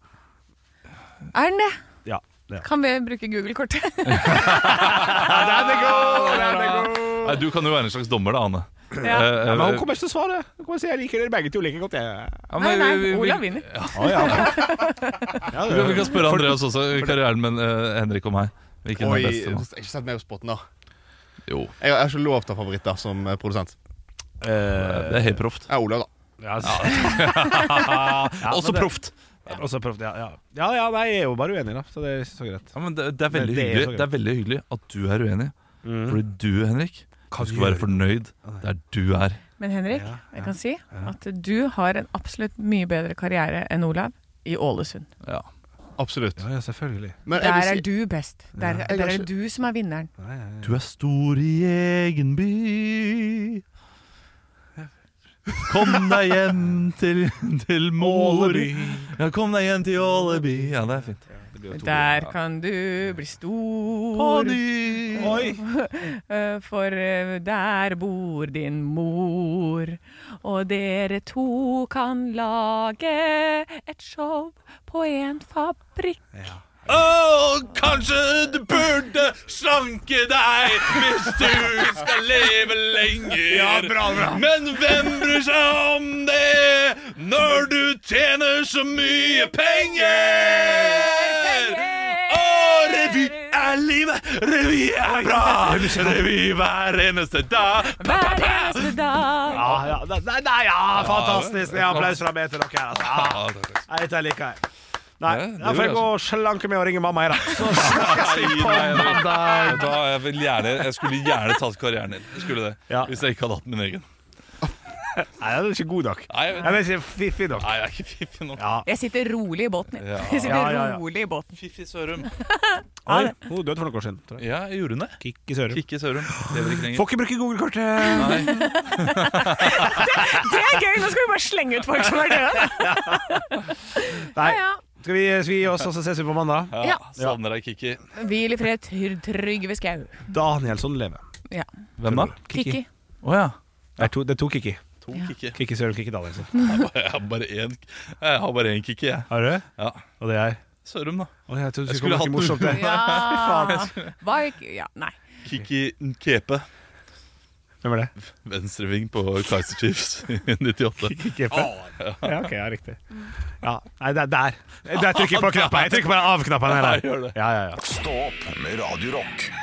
Speaker 2: Er den det?
Speaker 10: Ja. ja.
Speaker 2: Kan vi bruke Google-kortet?
Speaker 3: (laughs)
Speaker 10: Den er god! Den er god!
Speaker 3: Nei, du kan jo være en slags dommer, da, Anne.
Speaker 2: Ja.
Speaker 3: Eh, eh,
Speaker 10: Men hun kommer ikke til å svare. Hun kommer til å si jeg liker dere begge to like
Speaker 3: (laughs)
Speaker 10: godt. Jeg.
Speaker 3: ja,
Speaker 2: Nei,
Speaker 3: men
Speaker 2: nei,
Speaker 3: vi- vi- vi-
Speaker 2: Olav vinner.
Speaker 3: Ah,
Speaker 10: Ja, ja. ja,
Speaker 3: Vi
Speaker 10: det-
Speaker 3: kan, vi kan spørre Andreas også, karrieren men eh, Henrik og meg. Hvilken
Speaker 5: Oi,
Speaker 3: er best?
Speaker 5: ikke
Speaker 3: Anne?
Speaker 5: sett meg på spotten, da.
Speaker 3: Jo,
Speaker 5: Jeg har jeg har ikke lov til å ha favoritter som eh, produsent.
Speaker 10: Eh,
Speaker 3: det er helt proft.
Speaker 5: Jeg er Olav, da.
Speaker 10: ja,
Speaker 3: Også
Speaker 10: men det-
Speaker 3: proft!
Speaker 10: ja, Også proft, ja, ja. ja, ja, nei, jeg er jo bare uenig, da. Så det er ikke så greit.
Speaker 3: Ja, men det, det, er veldig
Speaker 10: Det- det er så Mm.
Speaker 3: hyggelig,
Speaker 10: greit.
Speaker 3: det er veldig hyggelig at du er uenig. Fordi du, Henrik, du skal være fornøyd der du er.
Speaker 2: Men Henrik, jeg kan si at du har en absolutt mye bedre karriere enn Olav i Ålesund.
Speaker 3: Ja.
Speaker 5: Absolutt.
Speaker 10: Ja, ja, selvfølgelig.
Speaker 5: Men jeg
Speaker 2: Der
Speaker 5: vil si-
Speaker 2: er du best. Der,
Speaker 5: Jeg
Speaker 2: der
Speaker 5: har
Speaker 2: er
Speaker 5: ikke-
Speaker 2: det du som er vinneren.
Speaker 3: Du er stor i egen by. Kom deg hjem til, til mor. Ja, kom deg hjem til Åleby. Ja, det er fint.
Speaker 2: Der kan du bli
Speaker 3: På
Speaker 2: stor,
Speaker 3: ny.
Speaker 10: Oi!
Speaker 2: eh, for eh, der bor din mor. Og dere to kan lage et show på en fabrikk.
Speaker 3: Åh, kanskje du burde slanke deg hvis du skal leve lenger. Men hvem bryr seg om det når du tjener så mye penger? Åh, revy er livet, revy er bra. Revy hver eneste dag.
Speaker 2: Hver eneste dag.
Speaker 10: Ja, ja, nei, nei, nei, ja, fantastisk! Ja, applaus fra meg til dere. her, Altså. Ja, Nei, Dette liker jeg. Nei,
Speaker 3: Ja, det
Speaker 10: da får jeg
Speaker 3: gjorde jeg
Speaker 10: gå og slanke meg og ringe mamma her, da. Så
Speaker 3: Da jeg, vil gjerne, jeg skulle gjerne tatt karrieren din. Jeg skulle det,
Speaker 10: Ja.
Speaker 3: Hvis jeg ikke hadde hatt min egen.
Speaker 10: Nei, det er ikke god nok.
Speaker 3: Nei, jeg
Speaker 10: Jeg vil si fiffig nok.
Speaker 3: Nei, jeg er ikke fiffig nok.
Speaker 10: Ja.
Speaker 2: Jeg sitter rolig i båten. jeg.
Speaker 3: Ja.
Speaker 2: Jeg sitter
Speaker 10: Ja, ja, ja.
Speaker 2: rolig i båten.
Speaker 3: Fiffi Sørum.
Speaker 10: Oi, hun døde for noen år siden. Tror jeg.
Speaker 3: Ja, jeg gjorde hun det?
Speaker 10: Kikk i Sørum.
Speaker 3: Kikke Sørum. Lever ikke lenger.
Speaker 10: Får ikke bruke Google-kortet!
Speaker 3: Nei.
Speaker 2: Det er gøy! Nå skal vi bare slenge ut folk som er døde.
Speaker 10: Nei.
Speaker 2: Ja, ja.
Speaker 10: Skal vi, skal vi gi oss, og så ses vi på mandag?
Speaker 3: Ja, savner deg, Kikki.
Speaker 2: Hvil i fred, Tryg- Trygve Skau.
Speaker 10: Danielsson lever.
Speaker 2: Ja.
Speaker 3: Hvem da?
Speaker 2: Kikki.
Speaker 3: Å ja.
Speaker 10: Det er to, det er to Kikki.
Speaker 3: To
Speaker 2: Ja.
Speaker 3: Kikki.
Speaker 10: Kikki Sørum, Kikki Danielsen.
Speaker 3: Jeg har bare én, jeg har bare én Kikki, jeg.
Speaker 10: Har du?
Speaker 3: Ja.
Speaker 10: Og det er jeg.
Speaker 3: Sørum, da.
Speaker 10: Å, jeg trodde
Speaker 3: Jeg skulle
Speaker 10: du skulle komme
Speaker 3: hatt
Speaker 10: noe morsomt.
Speaker 3: noe.
Speaker 10: det.
Speaker 2: Ja. Var ikke Ja, nei.
Speaker 3: Kikki Nkepe.
Speaker 10: Hvem er det?
Speaker 3: Venstreving på Kaiser Chiefs i 98.
Speaker 10: Kikkepe.
Speaker 3: Ah.
Speaker 10: Ja, ok, ja, riktig.
Speaker 3: Mm.
Speaker 10: Ja, Nei, det er der. Der trykker jeg på knappen. Jeg trykker bare av knappen her.
Speaker 3: Ja, gjør det.
Speaker 10: Ja, ja, ja.
Speaker 1: Stå opp med Radio Rock.